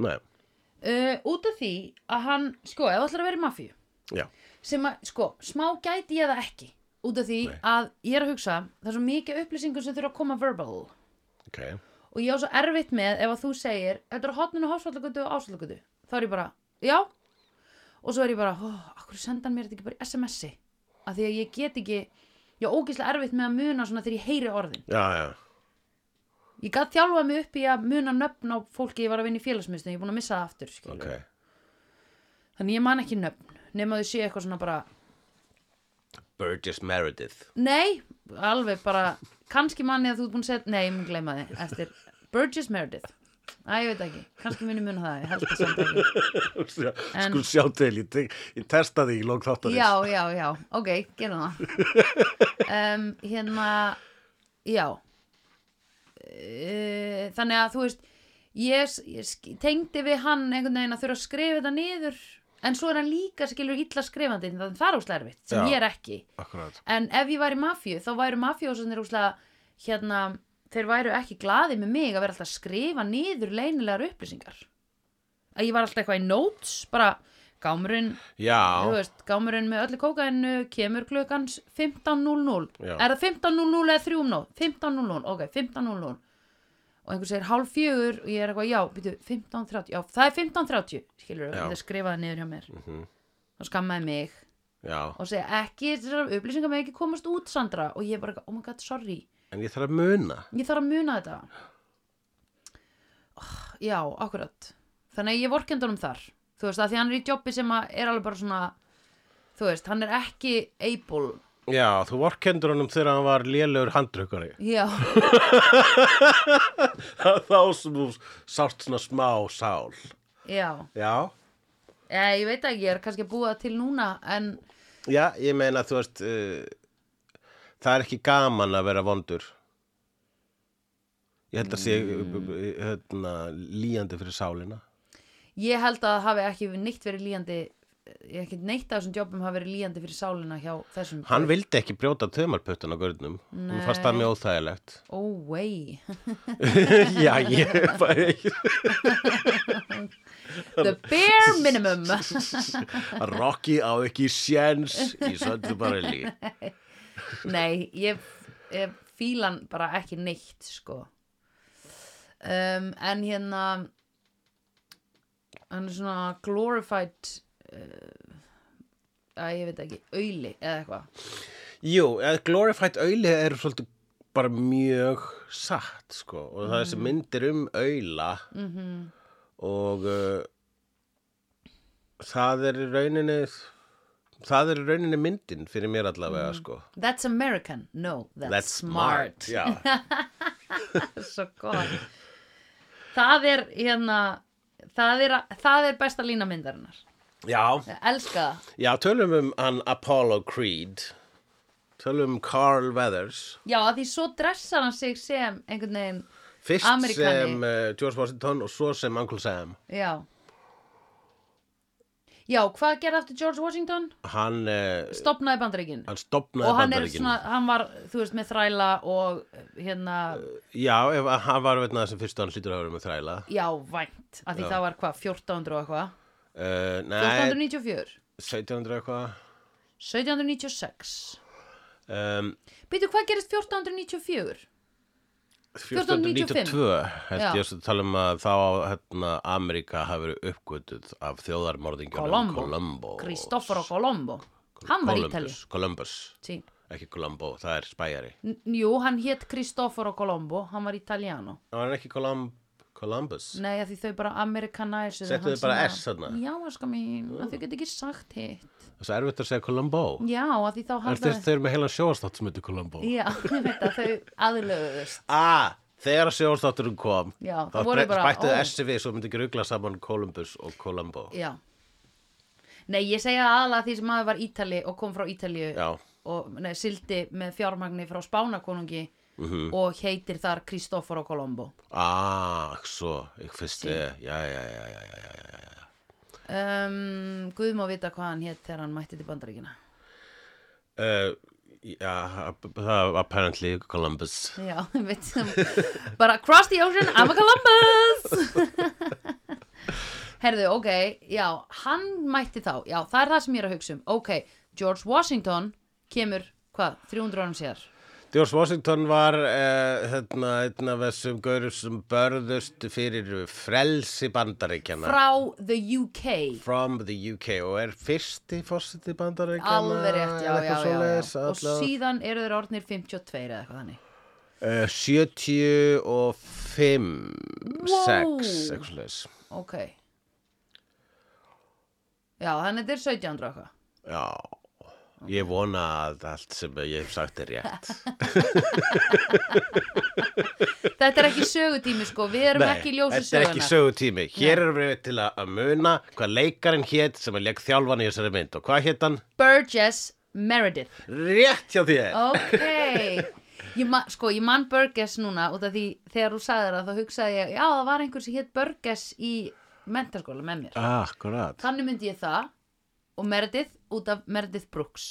Speaker 1: nei,
Speaker 2: uh, út af því að hann, sko, ef þú ætlar að vera í mafíu
Speaker 1: já,
Speaker 2: sem að, sko, smá gæti ég það ekki út af því
Speaker 1: Nei.
Speaker 2: að ég er að hugsa það er svo mikið upplýsingum sem þurfa að koma verbal og
Speaker 1: ok
Speaker 2: ég á svo erfitt með ef að þú segir, þetta er hotninu hásvallagutu og ásvallagutu, þá er ég bara, já og svo er ég bara, ó, akkur senda hann mér þetta ekki bara í SMS-i af því að ég get ekki, ég á ógislega erfitt með að muna svona þegar ég heyri orðin
Speaker 1: já, já,
Speaker 2: Ég gat þjálfað mig upp í að muna nöfn á fólki ég var að vinna í félagsmiðstöð, ég er búin að missa það aftur skilur.
Speaker 1: ok
Speaker 2: Þannig ég man ekki nöfn, nema þau séu eitthvað svona bara,
Speaker 1: Burgess Meredith
Speaker 2: nei, alveg bara, kannski manni að þú ert búin að segja, nei, ég mun gleyma þið, eftir Burgess Meredith. Æ, ég veit ekki, kannski muni muna það, ég held það samt ekki. En-
Speaker 1: skul sjá til, ég, te- ég testa því í lók þáttarins
Speaker 2: Já, já, já, ok, gerum það. Um, hérna, já, Eh, þannig að þú veist, ég, s- ég sk- tengdi við hann einhvern veginn að þurfa að skrifa þetta niður en svo er hann líka skilur illa skrifandi þannig að það er óslega erfitt sem
Speaker 1: Já.
Speaker 2: ég er ekki
Speaker 1: akkurat,
Speaker 2: en ef ég væri mafíu þá væru mafjósunir óslega hérna, þeir væru ekki glaði með mig að vera alltaf að skrifa niður leynilegar upplýsingar að ég var alltaf eitthvað í notes bara gámurinn
Speaker 1: já
Speaker 2: þú veist, gámurinn með öllu kókainu kemur klukkan 15.00
Speaker 1: Já.
Speaker 2: er það 15.00 eða 3 um nótt 15.00, ok, 15.00 og einhver segir hálf fjögur og ég er eitthvað, já, býtu, 15.30 já, það er 15.30, skilur
Speaker 1: Já. Mhm.
Speaker 2: við, það skrifaði niður hjá mér þá skammaði mig
Speaker 1: já,
Speaker 2: og segja ekki, þessar upplýsingar með ekki komast út Sandra og ég er bara, eitthvað, oh my god, sorry
Speaker 1: en ég þarf að muna
Speaker 2: ég þarf að muna þetta oh, já, akkurat þannig að ég vorkendur um þar þú veist, að því hann er í jobbi sem að er alveg bara svona þú veist, hann er ekki able
Speaker 1: Já, þú vorkendur honum þegar hann var lélegur handrukkari.
Speaker 2: já,
Speaker 1: Þá sem þú sátt svona smá sál.
Speaker 2: já
Speaker 1: Já,
Speaker 2: ég, ég veit ekki, ég er kannski að búa til núna en
Speaker 1: já, ég meina þú veist, uh, það er ekki gaman að vera vondur. Ég held að sé mm. hérna, líjandi fyrir sálina.
Speaker 2: ég held að það hafi ekki neitt verið líjandi ég ekki neitt af þessum jobbum hafi verið líjandi fyrir sálina hjá þessum
Speaker 1: Hann vildi ekki brjóta tömarputtun á gurnum. Hún fannst það mjög óþægilegt.
Speaker 2: oh way,
Speaker 1: já, ég er bara ekki.
Speaker 2: the bare minimum
Speaker 1: Rocky á ekki sjens í söndu barili.
Speaker 2: Nei, ég, ég fílan bara ekki neitt sko um, en hérna hann er svona glorified uh, að ég veit ekki, auðli eða eitthvað
Speaker 1: Jú, eða glorified auðli er svolítið bara mjög satt sko og það er
Speaker 2: Mm.
Speaker 1: þessi myndir um auðla -hmm.
Speaker 2: Mhm.
Speaker 1: og uh, það er í rauninni það er í rauninni myndin fyrir mér allavega sko
Speaker 2: That's American, no, Mm. that's, smart,
Speaker 1: Já,
Speaker 2: Svo gott Það er hérna það er, það er besta lína myndarinnar
Speaker 1: já,
Speaker 2: Ég elska það
Speaker 1: já, tölum um hann Apollo Creed tölum um Carl Weathers
Speaker 2: Já, að því svo dressar hann sig sem einhvern veginn,
Speaker 1: fyrst
Speaker 2: Ameríkani.
Speaker 1: sem uh, George Washington og svo sem Uncle Sam
Speaker 2: já Já, hvað gerði aftur George Washington?
Speaker 1: hann, uh,
Speaker 2: stopnaði bandaríkin
Speaker 1: hann stopnaði
Speaker 2: og hann er
Speaker 1: Bandaríkin.
Speaker 2: svona, hann var, þú veist, með þræla og eh, hérna,
Speaker 1: Já, ef að hann var veitna þessum fyrstu hann hlýtur að vera með þræla
Speaker 2: já, vænt af því það var hvað, 1400 og eitthvað
Speaker 1: uh, Nei,
Speaker 2: 1494,
Speaker 1: 1700 eitthvað
Speaker 2: 1796
Speaker 1: um,
Speaker 2: Býtu, hvað gerist 1494?
Speaker 1: 1492 held
Speaker 2: Já.
Speaker 1: ég að tala um að þá hérna, Ameríka hafi verið uppgötuð af þjóðarmorðingjónum
Speaker 2: Colombo.
Speaker 1: Colombo
Speaker 2: Kristoffer og Colombo Hann var ítali
Speaker 1: Columbus, Columbus,
Speaker 2: sí.
Speaker 1: ekki Colombo, það er spæjari
Speaker 2: N- Jú, hann hétt Kristoffer og Colombo Hann var italiano
Speaker 1: Það var ekki Colum- Columbus
Speaker 2: Nei, af því þau bara amerikanæsir
Speaker 1: Settu þau bara S þarna?
Speaker 2: Já, sko mín, af því geta ekki sagt hitt
Speaker 1: Það er svo erfitt að segja Colombo
Speaker 2: Já, af því þá
Speaker 1: Er
Speaker 2: halda
Speaker 1: þeir, þeir eru með heilan sjóastátt sem heitir Colombo
Speaker 2: Já, ég veit að þau aðlöðust
Speaker 1: Ah, þegar sjóastátturinn kom
Speaker 2: Já,
Speaker 1: þá
Speaker 2: það voru
Speaker 1: bre-
Speaker 2: bara,
Speaker 1: bættuðu
Speaker 2: ó.
Speaker 1: SV svo myndi ekki rugla saman Columbus og Colombo
Speaker 2: Já Nei, ég segja aðalega því sem maður var Ítali og kom frá Ítalíu
Speaker 1: Já,
Speaker 2: og nei, sildi með fjármagni frá Spánakonungi
Speaker 1: mhm. Mm.
Speaker 2: og heitir þar Kristoffer og Kolombo
Speaker 1: ah, svo, ég fyrst, eh, já, já, já, já, já, já, já, já.
Speaker 2: um, Guð má vita hvað hann hétt þegar hann mætti til bandaríkina
Speaker 1: Uh, já, það var apparently Columbus.
Speaker 2: Já, veit bara cross the ocean, I'm a Columbus Herðu, ok, já, hann mætti þá Já, það er það sem ég er að hugsa um Ok, George Washington kemur, hvað, 300 árum sér
Speaker 1: George Washington var, uh, hérna, einn af þessum gaurum sem börðust fyrir frelsi bandaríkjana.
Speaker 2: Frá the UK
Speaker 1: From the UK og er fyrsti fórseti bandaríkjana.
Speaker 2: Alveg rétt,
Speaker 1: eða
Speaker 2: já, já,
Speaker 1: eitthvað
Speaker 2: já, já.
Speaker 1: svoleiðis,
Speaker 2: Og
Speaker 1: allavega.
Speaker 2: síðan eru þeir orðnir 52 eða eitthvað þannig
Speaker 1: Eh, 75,
Speaker 2: Wow.
Speaker 1: 6, eitthvað slags.
Speaker 2: Ok Já, þannig þetta er 1700 og eitthvað
Speaker 1: Já, ég vona að allt sem ég hef sagt er rétt.
Speaker 2: Þetta er ekki sögutími sko, við erum
Speaker 1: Nei,
Speaker 2: ekki í ljósi
Speaker 1: Þetta er ekki
Speaker 2: sögunar
Speaker 1: sögutími. Hér erum við til að að muna hvað leikarinn hétt sem er leik þjálfan í þessari mynd. Og hvað hétt hann?
Speaker 2: Burgess Meredith
Speaker 1: Rétt hjá þér!
Speaker 2: Ok ég man, Sko, ég man Burgess núna út af því þegar þú sagðir það þá hugsaði ég Já, það var einhver sem hétt Burgess í mentaskóla með mér
Speaker 1: Akkurat.
Speaker 2: Þannig myndi ég það og Meredith út af Meredith Brooks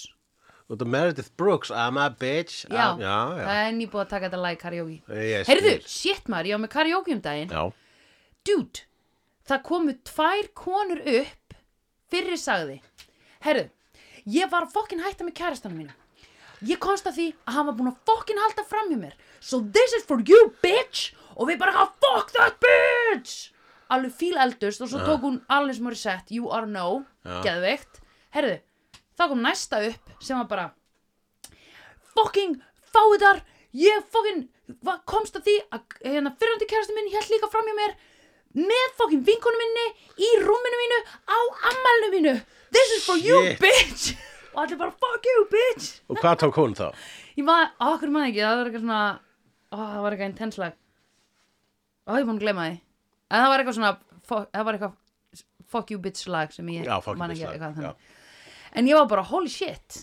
Speaker 1: Og það Meredith Brooks, I'm a bitch.
Speaker 2: Já,
Speaker 1: I'm, já, já.
Speaker 2: það er nýbúið að taka þetta lag í karaoke
Speaker 1: Ég
Speaker 2: Heyrðu,
Speaker 1: skil.
Speaker 2: shit maður, ég var með karaoke um daginn
Speaker 1: Já,
Speaker 2: Dude, það komu tvær konur upp Fyrri sagði Heyrðu, ég var fokkin hætta með kærastanum mínu Ég komst að því að hann var búinn að fokkin halda fram hjá mér So this is for you bitch Og við bara að fuck that bitch Alveg fíl eldust og svo tók hún Alice Morissette, You Are No Geðveikt Heyrðu, þá kom næsta upp sem var bara fucking fáiðar ég fucking va- komst að því að hérna, fyrrandi kærastu minn hélt líka fram hjá mér með fucking vinkonu minni í rúminu mínu á ammælinu mínu this is for you
Speaker 1: Shit.
Speaker 2: bitch og allir bara fuck you bitch
Speaker 1: Og hvað tók hún þá?
Speaker 2: ég maður, okkur maður ekki, það var eitthvað svona ó, það var eitthvað intense lag ó, ég búin að gleyma því en það var eitthvað svona, fuck, það var eitthvað fuck you bitch lag sem ég
Speaker 1: Já, fuck
Speaker 2: man
Speaker 1: you, bitch,
Speaker 2: ekki
Speaker 1: lag,
Speaker 2: eitthvað þannig.
Speaker 1: já.
Speaker 2: en ég var bara, holy shit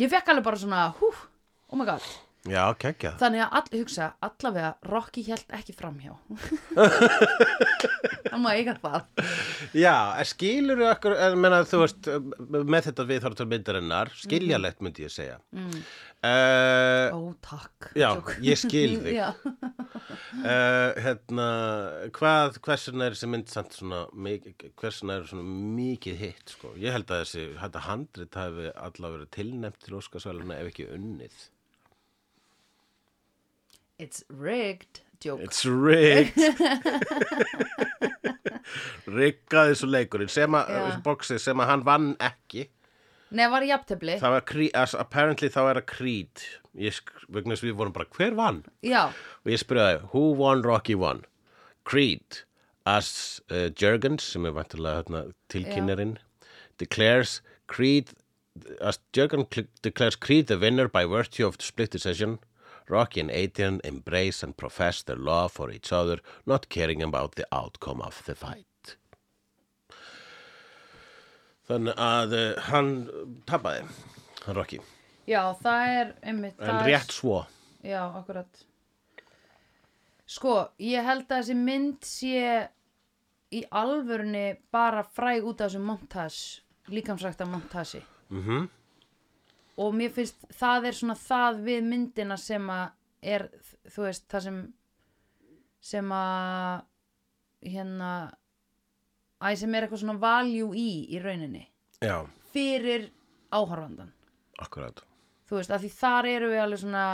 Speaker 2: ég fekk alveg bara svona, hú, oh my god
Speaker 1: Já, kekkja
Speaker 2: þannig að all, hugsa, allavega Rocky held ekki framhjá það má eiga það
Speaker 1: Já, skilur við okkur, en meina, þú veist, með þetta við þarf til myndarinnar, skiljalegt myndi ég segja. Mm.
Speaker 2: Mhm. ó, takk
Speaker 1: Eh. já,
Speaker 2: Jók.
Speaker 1: ég skil þig.
Speaker 2: Já.
Speaker 1: Uh, hérna, hvað, hversuna er þessi mynd samt svona, mikið- hversuna er svona mikið hitt, sko? Ég held að þessi, þetta handrit hafi allavega verið tilnæmt til Óskarsvæluna ef ekki unnið.
Speaker 2: it's rigged, joke
Speaker 1: It's rigged Riggaði svo leikurinn sem að,
Speaker 2: Já.
Speaker 1: yeah. boxið sem að hann vann ekki
Speaker 2: nei, var jafntefli,
Speaker 1: Það var Creed, as, apparently þá er að Creed ég, sk- vegna þess að við vorum bara, hver vann?
Speaker 2: já
Speaker 1: Og ég spurði, who won Rocky won? Creed as uh, Jurgens, sem er vantilega hérna, tilkynnerinn declares Creed as Jurgen cl- declares Creed the winner by virtue of the split decision Rocky and Adrian embrace and profess their love for each other not caring about the outcome of the fight Þannig að uh, hann tapaði, hann Rocky
Speaker 2: Já, það er einmitt
Speaker 1: en
Speaker 2: það
Speaker 1: rétt svo
Speaker 2: er, Já, akkurat Sko, ég held að þessi mynd sé í alvörunni bara fræg út af þessu montage líkamsrækta montasi
Speaker 1: mm
Speaker 2: og mér finnst það er svona það við myndina sem að er, þú veist, það sem sem að hérna æ, sem er eitthvað svona value í í rauninni
Speaker 1: Já,
Speaker 2: fyrir áhorfandan
Speaker 1: akkurat
Speaker 2: þú veist, af því þar eru við alveg svona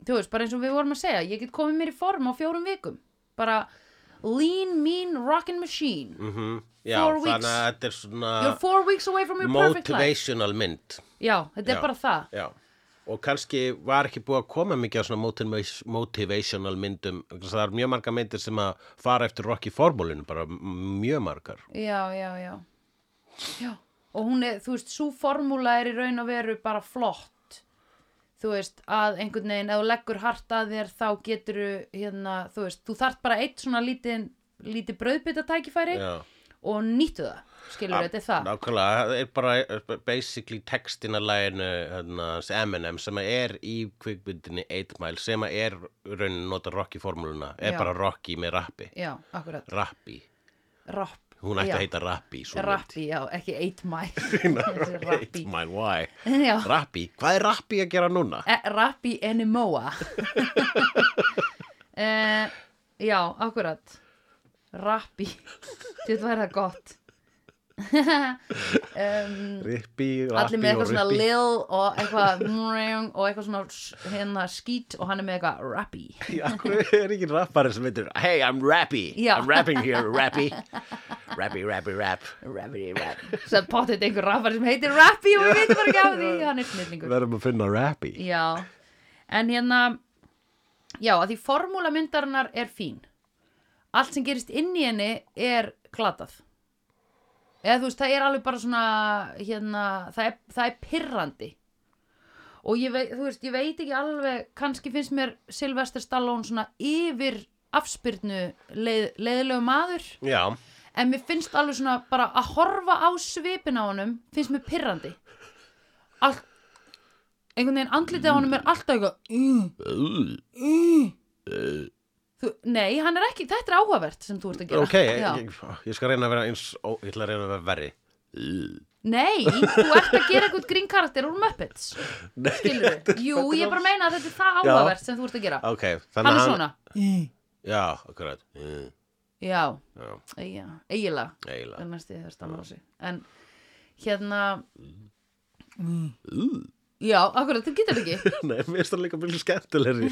Speaker 2: þú veist, bara eins og við vorum að segja ég get komið mér í form á fjórum vikum bara lean, mean, rockin' machine
Speaker 1: mm Já,
Speaker 2: Four weeks.
Speaker 1: þannig að þetta er svona
Speaker 2: you're four weeks away from your perfect life
Speaker 1: motivational mynd
Speaker 2: já, þetta
Speaker 1: Já.
Speaker 2: er bara það
Speaker 1: Já, og kannski var ekki búið að koma mikið á svona motiva- motivational myndum vegna þess að það er mjög margar myndir sem að fara eftir Rocky formúlinu, bara m- mjög margar
Speaker 2: já, já, já, já. og hún er, þú veist, svo formúla er í raun og veru bara flott þú veist, að einhvern veginn ef þú leggur hart að þér þá getur hérna, þú veist, þú þarft bara eitt svona lítið, lítið brauðbytta tækifæri
Speaker 1: Já,
Speaker 2: og nýttu það, skilur þetta er það
Speaker 1: nákvæmlega, það er bara eh, basically textin að læginu hérna, hans Eminem sem að er í kvikmyndinni 8 Mile sem að er raunin nota Rocky formúluna er
Speaker 2: Já.
Speaker 1: bara Rocky með rappi
Speaker 2: Já, akkurat,
Speaker 1: Rappi,
Speaker 2: rapp
Speaker 1: hún ætti
Speaker 2: já.
Speaker 1: að heita Rappi svo
Speaker 2: Rappi, já, ekki 8
Speaker 1: mynd.
Speaker 2: mile
Speaker 1: Eight
Speaker 2: Rappi
Speaker 1: Mile, why?
Speaker 2: Já,
Speaker 1: Rappi, hvað er Rappi að gera núna?
Speaker 2: e, Rappi Enimoa e, Já, akkurat Rappi Þetta væri það gott um,
Speaker 1: Rippi, Rappi
Speaker 2: Allir með
Speaker 1: og
Speaker 2: eitthvað svona
Speaker 1: Rippi.
Speaker 2: lil og eitthvað mrrrrrrrrrrrrrrrrrrrrrrrrrrrrrrrrrrrrrrrrrrrrrrrrrrrrrrrrrrrrrr og eitthvað svona hérna skít og hann er með eitthvað Rappi
Speaker 1: Akkur er ekki rappari sem heitir Hey, I'm rappy,
Speaker 2: Já.
Speaker 1: I'm rapping here, rappy Rappy, rappy, rap
Speaker 2: Rappi, Rappi Svo potið einhver rappar sem heitir Rappi og við veitum bara ekki af því hann er snillingur
Speaker 1: Verðum að finna rappy
Speaker 2: Já, en hérna Já, að því formúla myndarinnar er fín Allt sem gerist inn í henni er glatað Eða þú veist, það er alveg bara svona hérna, það er, það er pirrandi og ég veit, þú veist, ég veit ekki alveg kannski finnst mér Sylvester Stallone svona yfir afspyrnu leið, leiðilegu maður
Speaker 1: Já,
Speaker 2: en mér finnst alveg svona bara að horfa á svipin á honum finnst mér pirrandi All, einhvern veginn andlitið á honum er alltaf eitthvað uh, þú, nei, hann er ekki, þetta er áhugavert sem þú ert að gera
Speaker 1: ok, ég,
Speaker 2: Já.
Speaker 1: ég, ég skal reyna að vera eins ó, Ég ætla að reyna að vera verri
Speaker 2: nei, þú ert að gera eitthvað grín karakter úr Muppets
Speaker 1: Nei,
Speaker 2: skilur við, jú, ég bara meina að þetta er það áhugavert sem þú ert að gera
Speaker 1: ok
Speaker 2: hann
Speaker 1: þannig
Speaker 2: er
Speaker 1: að
Speaker 2: svona,
Speaker 1: Já, akkurat Mm,
Speaker 2: já,
Speaker 1: Já,
Speaker 2: já eiginlega
Speaker 1: eiginlega
Speaker 2: Það er næstu þér stafn á sig En hérna
Speaker 1: Mm.
Speaker 2: Já, akkurat, þú getur þetta ekki
Speaker 1: Nei, mér finnst það líka mjög skemmtilegri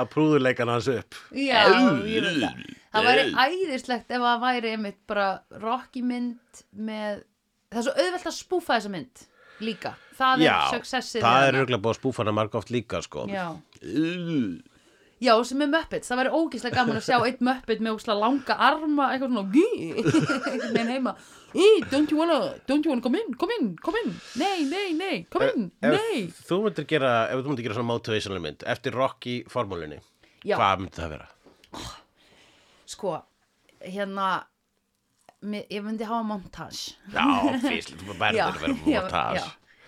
Speaker 1: Að prúðuleikan hans upp
Speaker 2: Já, ég veit það það væri
Speaker 1: Nei.
Speaker 2: æðislegt ef það væri einmitt bara Rocky mynd með það er svo auðvelt að spúfa þessa mynd líka, það
Speaker 1: Já,
Speaker 2: er successið
Speaker 1: það
Speaker 2: við
Speaker 1: er
Speaker 2: hana.
Speaker 1: auðvitað búið að spúfa hana margóft líka, sko.
Speaker 2: Já.
Speaker 1: Uh,
Speaker 2: Já, sem er Muppets, það væri ógeðslega gaman að sjá einn Muppet með ógeðslega langa arma eitthvað svona, gí, einhvern veginn heima Í, don't you wanna, don't you wanna come in, come in, come in, nei, nei, nei, come in, nei
Speaker 1: Ef þú myndir gera, ef þú myndir gera svona motivational mynd, eftir Rocky formúlinni,
Speaker 2: Já.
Speaker 1: hvað myndi það vera?
Speaker 2: Sko, hérna, mér- ég myndi hafa montage
Speaker 1: Já, fyrst, þú verður að vera
Speaker 2: já,
Speaker 1: montage.
Speaker 2: já.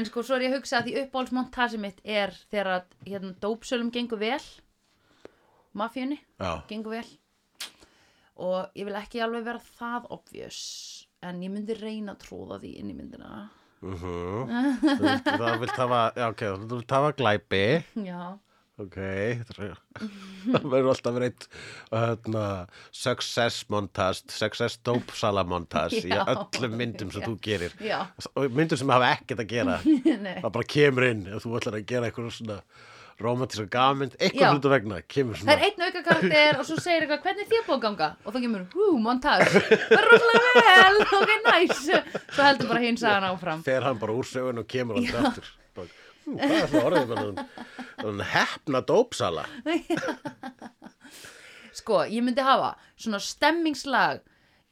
Speaker 2: En sko, svo er ég að hugsa að því uppáhaldsmontage mitt er þegar að hérna, dópsölum gengur vel, mafíunni
Speaker 1: Já.
Speaker 2: gengur vel og ég vil ekki alveg vera það obvious en ég myndi reyna að tróða því inn í myndina.
Speaker 1: Mhm. Þú vilt- Það vilt hafa, já, ok, þú vilt hafa glæpi,
Speaker 2: Já,
Speaker 1: ok, þetta er- það verður alltaf reitt, hérna, success montage, success dope sala montage í
Speaker 2: Já.
Speaker 1: öllum myndum sem þú gerir.
Speaker 2: já,
Speaker 1: Og Myndum sem hafa ekkert að gera,
Speaker 2: nei,
Speaker 1: það bara kemur inn, ef þú ætlar að gera eitthvað svona romantíska gammynd,
Speaker 2: Já.
Speaker 1: eitthvað hlutu vegna, kemur
Speaker 2: Það
Speaker 1: svona.
Speaker 2: er einn auka karakter og svo segir eitthvað hvernig er þér búið að ganga og þá kemur, hú, montage, var rosalega vel, ok, nice. Svo heldur bara hins að hann áfram.
Speaker 1: fer hann bara úr sögun og kemur hann til aftur Bara, "Hm, hvað er það orðið með hann hann hefna dópsala
Speaker 2: sko, ég myndi hafa svona stemmingslag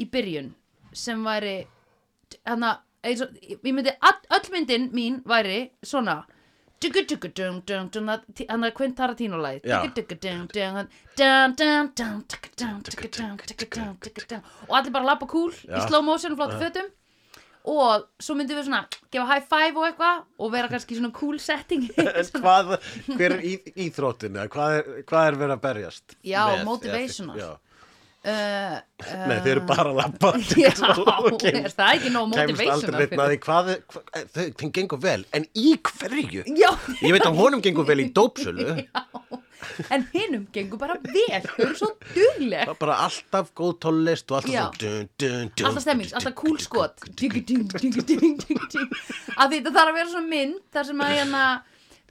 Speaker 2: í byrjun sem væri hana, eins og, ég myndi, all, öll myndin mín væri svona tuggu tuggu dung dung dung hann er Quint Tarantino lagið
Speaker 1: Já.
Speaker 2: tuggu tuggu dung dung hann- dun, dun, dun, tuggu dung tuggu dung tuggu dung tuggu dung og allir bara labba cool í
Speaker 1: Já.
Speaker 2: slow motion og flottu fötum og svo myndum við svona gefa high five og eitthvað og vera kannski í svona cool setting
Speaker 1: en hvað, hver er í, íþróttin eða hvað er, hvað er verið að berjast
Speaker 2: Já,
Speaker 1: með?
Speaker 2: motivational.
Speaker 1: Já.
Speaker 2: uh,
Speaker 1: nei, þeir eru bara að labba
Speaker 2: Já,
Speaker 1: Og kemst-
Speaker 2: er það ekki nóg
Speaker 1: kemst aldrei
Speaker 2: motivational
Speaker 1: neitt með því hvað, er- hvað eh, þau, þeim gengur vel en í hverju?
Speaker 2: Já,
Speaker 1: ég veit að honum gengur vel í dópsölu
Speaker 2: já, en hinnum gengur bara vel, þau eru svo dugleg
Speaker 1: það er bara alltaf góð tónlist og alltaf
Speaker 2: Já.
Speaker 1: svona dun, dun, dun,
Speaker 2: Alltaf stemmings, alltaf cool sko, skot Ding, ding, ding, ding, ding, ding. Af því þetta þarf að vera svona mynd þar sem að hérna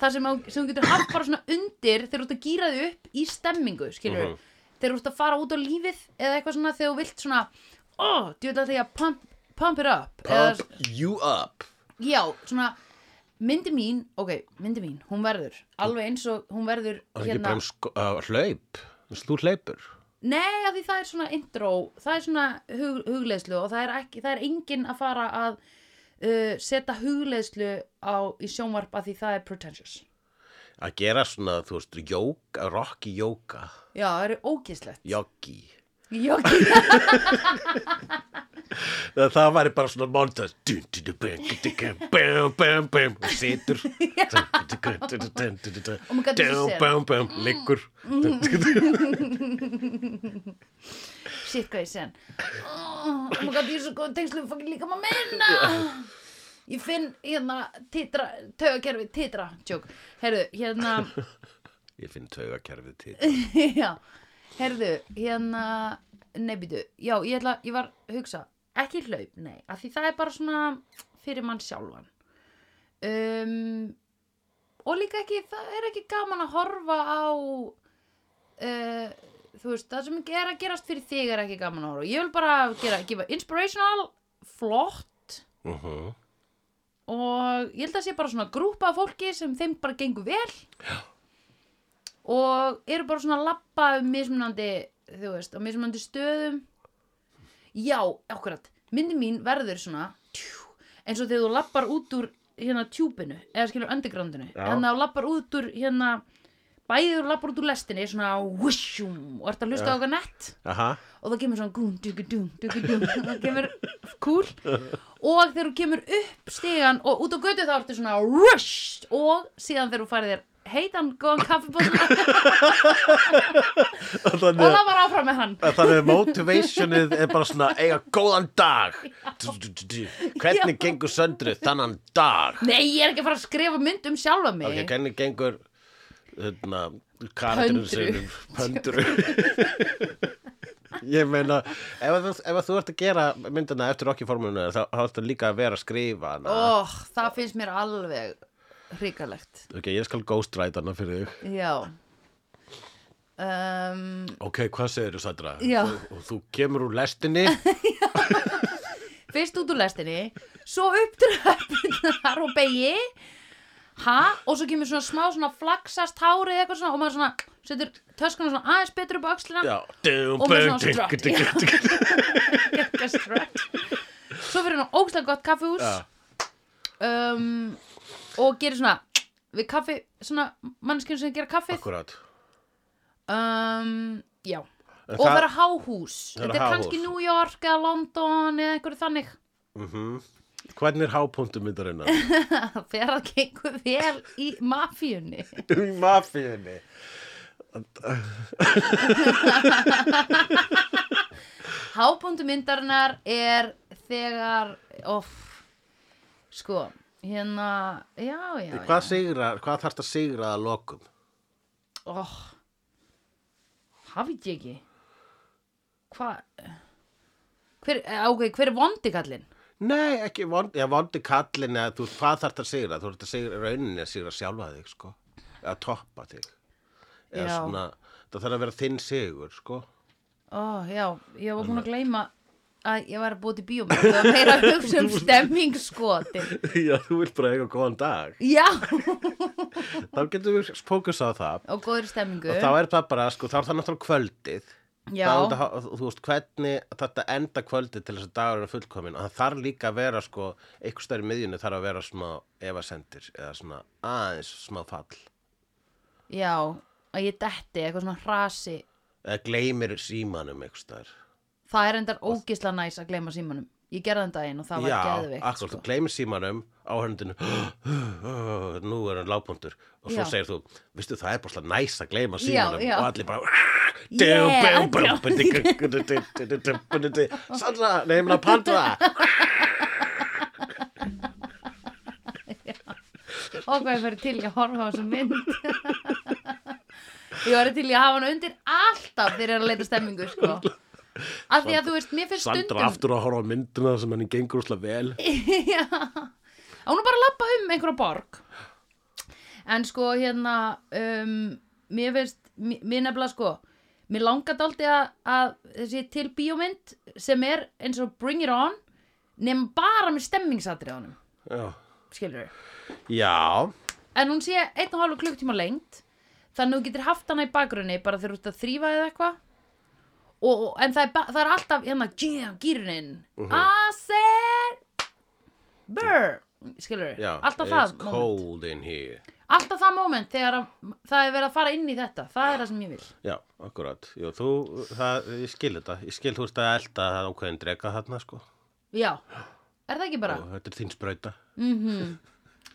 Speaker 2: þar sem, að, sem þú getur haft bara svona undir þegar þú ert að gýra þig upp í stemmingu skilur
Speaker 1: Mhm.
Speaker 2: þegar þú ert að fara út á lífið eða eitthvað svona þegar þú vilt svona ó, oh, djúlega þegar ég að pump, pump it up
Speaker 1: pump you up
Speaker 2: Já, svona myndi mín, ok, myndi mín, hún verður alveg eins og hún verður hérna,
Speaker 1: og það er ekki bara um sko, uh, hlaup Þú veist, þú hlaupur
Speaker 2: Nei, af því það er svona intro, það er svona hug, hugleðslu og það er, ekki, það er enginn að fara að uh, setja hugleðslu á, í sjónvarp af því það er pretentious.
Speaker 1: að gera svona, þú veist, jóka, rocky jóka,
Speaker 2: Já, það eru ógislegt.
Speaker 1: joggi.
Speaker 2: Jóki,
Speaker 1: Það, það væri bara svona montas. Dun, dun, dun, bum, dun, dun, bum, bum, bum, og situr.
Speaker 2: Og maður gat ekki
Speaker 1: Dun,
Speaker 2: séð.
Speaker 1: bum, bum, liggur.
Speaker 2: Mm.
Speaker 1: Dun, dun, dun.
Speaker 2: shit hvað ég sen. Oh my god, ég er svo góð tengslu, fokkin líka maður minna. Ég finn hérna titra, taugakerfi, titra, tjók. Herðu, hérna...
Speaker 1: Ég finn taugakerfið til.
Speaker 2: já, herðu, hérna, nei býtu, já, ég, ætla, ég var að hugsa, ekki hlaup, nei, af því það er bara svona fyrir mann sjálfan. Um, og líka ekki, það er ekki gaman að horfa á, uh, þú veist, það sem er að gerast fyrir þig er ekki gaman að horfa. á. Ég vil bara gera, gefa inspirational, flott
Speaker 1: Uh -huh.
Speaker 2: og ég held að sé bara svona grúpa af fólki sem þeim bara gengur vel og eru bara svona að labba um mismunandi, þú veist, á mismunandi stöðum já, akkurat, myndi mín verður svona tjú, eins og þegar þú labbar út úr hérna tjúpinu, eða skilur undergroundinu,
Speaker 1: Já.
Speaker 2: en þá labbar út úr hérna, bæðið þú labbar út úr lestinni, svona wishum og ert að hlusta á okkar nett
Speaker 1: Aha.
Speaker 2: og það kemur svona gún, dugu, dún, dugu, dún og það kemur kúl og þegar þú kemur upp stegan og út á götu þá ertu svona rush og síðan þegar þú farið þér heitan góðan kaffibóðum og
Speaker 1: Þannig,
Speaker 2: það var áfram með hann
Speaker 1: að þannig að motivationið er bara svona eiga góðan dag. Dun, dun, dun, dun. Hvernig gengur söndru þannan dag?
Speaker 2: Nei, ég er ekki að fara að skrifa mynd um sjálfa mig
Speaker 1: Ok, hvernig gengur hérna, karakterinu
Speaker 2: Pöndru.
Speaker 1: sinum pöndru Ég meina, ef, að þú- ef að þú ert að gera myndina eftir rockiformuna þá þá ertu líka að vera að skrifa hana
Speaker 2: Óh, það finnst mér alveg hrikalegt
Speaker 1: Ok, ég skal ghostwrite hana fyrir þig
Speaker 2: Já um,
Speaker 1: ok, hvað segir þú Sandra?
Speaker 2: Já.
Speaker 1: Þú- og þú kemur úr lestinni
Speaker 2: fyrst út úr lestinni svo upp tröppunar og beigi ha, og svo kemur svona smá svona flaksast hárið eitthvað svona og maður svona setur töskunum svona aðeins betur upp á axlina
Speaker 1: já,
Speaker 2: og með svona strött Eitthvað strött. svo fyrir hann ógstlega gott kaffihús
Speaker 1: Já.
Speaker 2: um, og gerir svona við kaffi, svona manneskjum sem gera kaffið
Speaker 1: akkurát
Speaker 2: um, já
Speaker 1: En
Speaker 2: og
Speaker 1: það-
Speaker 2: vera háhús
Speaker 1: Vera
Speaker 2: þetta er
Speaker 1: háhús.
Speaker 2: kannski New York eða London eða einhverju þannig
Speaker 1: hvernig er hápunktum myndarinnar?
Speaker 2: það fer að gengur vel í mafíunni
Speaker 1: í mafíunni
Speaker 2: hábúndu myndarinnar er þegar of, sko hérna, já, já,
Speaker 1: hvað, sigra, hvað þarfst að sigra að lokum?
Speaker 2: já. Oh, hafið ég ekki hvað hver, eh, ok, hver er vondi kallinn
Speaker 1: Nei, ekki vond, ég vondi kallin eða þú, hvað þarf það að sigra? Þú ert að sigra rauninni að sigra sjálfa þig, sko. Eða toppa þig. Eða
Speaker 2: Já.
Speaker 1: svona, það þarf að vera þinn sigur, sko.
Speaker 2: Ó, já, ég var búin að gleyma að ég var að búið til bíómynd og meira að hugsa um stemmingsskoti
Speaker 1: Já, þú vilt bara eiga góðan dag.
Speaker 2: Já,
Speaker 1: Þá getum við fókus á það.
Speaker 2: og góður stemmingu
Speaker 1: Og þá er það bara, sko, þá er það náttúrulega kvöldið.
Speaker 2: Já.
Speaker 1: Þá er það, þú veist, hvernig þetta enda kvöldið til þess að dagur er fullkomin. Og það þarf líka að vera, sko, einhvers staðar í miðjunni þarf að vera smá efasendir eða svona aðeins smá fall.
Speaker 2: Já, að ég detti eitthvað svona hrasi
Speaker 1: Eða gleymir símanum einhvers staðar.
Speaker 2: Það er endar ógisla næs að gleyma símanum Ég gerði þann daginn og það var
Speaker 1: Já,
Speaker 2: geðveikt
Speaker 1: akkur,
Speaker 2: sko.
Speaker 1: þú gleymir símanum á höndinu nú er hann lágbundur og svo
Speaker 2: Já.
Speaker 1: segir þú, vistu það er bara slá næs að gleyma símanum
Speaker 2: já.
Speaker 1: og allir bara "Ah,
Speaker 2: Yeah,
Speaker 1: Sandra, nefnir að pandra
Speaker 2: Og hvað ég fyrir til í að horfa á þessu mynd Ég var til í að hafa hana undir alltaf þegar ég er að leita stemmingu sko. Af því að þú veist, mér finnst
Speaker 1: Sandra
Speaker 2: stundum
Speaker 1: aftur að horfa á myndina sem henni gengur úslega vel
Speaker 2: Já, að hún er bara að lappa um einhverja borg En sko hérna um, Mér veist Mér mér nefnilega sko Mér langar daldi að, að þessi til bíómynd sem er eins og Bring It On nefn bara með stemmingsatriðanum
Speaker 1: Já,
Speaker 2: skilur
Speaker 1: já
Speaker 2: en hún sé einn og hálfu klukktíma lengt þannig að þú getur haft hana í bakgrunni bara þegar þú ert að þrýfa eða eitthvað og, og, en það er, ba- það er alltaf hérna, yeah, gýrunin
Speaker 1: Mhm.
Speaker 2: I said burr skilur,
Speaker 1: já.
Speaker 2: alltaf
Speaker 1: It's
Speaker 2: það moment
Speaker 1: cold in here
Speaker 2: alltaf það moment þegar að, það er verið að fara inn í þetta það er það sem ég vil
Speaker 1: Já, akkurat, Jú, þú, það, ég skil þetta, ég skil þú veist að elda það ákveðin drega þarna sko
Speaker 2: já, er það ekki bara
Speaker 1: og þetta er þín sprauta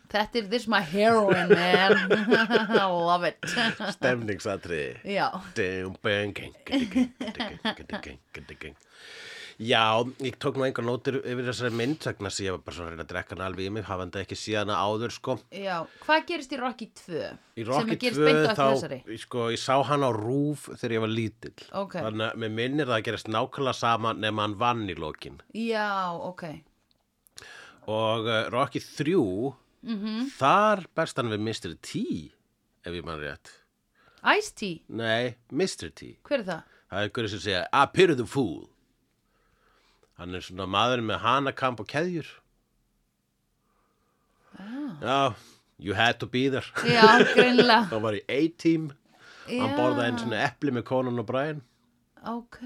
Speaker 2: þetta er this my heroin man I love it
Speaker 1: Stemningsatriði
Speaker 2: já,
Speaker 1: Dum, bang, gang, gang, gang, gang, gang, gang, gang, gang. Já, ég tók nú einhver nótir yfir þessari mynd vegna sem ég var bara svona að reyna að drekka hana alveg í mig hafandi ekki síðan að áður sko
Speaker 2: já, hvað gerist í Rocky 2?
Speaker 1: Í
Speaker 2: sem
Speaker 1: Rocky
Speaker 2: að gerist
Speaker 1: 2
Speaker 2: beint á eftir þessari
Speaker 1: þá, sko, ég sá hann á rúf þegar ég var lítill
Speaker 2: Ok.
Speaker 1: Þannig að mér minnir það að gerist nákvæmlega sama nema hann vann í lokin
Speaker 2: já, ok
Speaker 1: Og uh, Rocky 3,
Speaker 2: Mhm.
Speaker 1: þar berst hann við Mr. T, ef ég mann rétt
Speaker 2: Ice-T,
Speaker 1: Nei, Mr. T
Speaker 2: hver er það?
Speaker 1: Það er einhverju sem segja A pyrrðu fúl Hann er svona maður með hanakamp og keðjur
Speaker 2: Ah.
Speaker 1: Já, you had to be there
Speaker 2: Já, greinlega
Speaker 1: Það var í A-team Hann
Speaker 2: Já,
Speaker 1: borðaði einu svona epli með konan og bræðin
Speaker 2: Ok,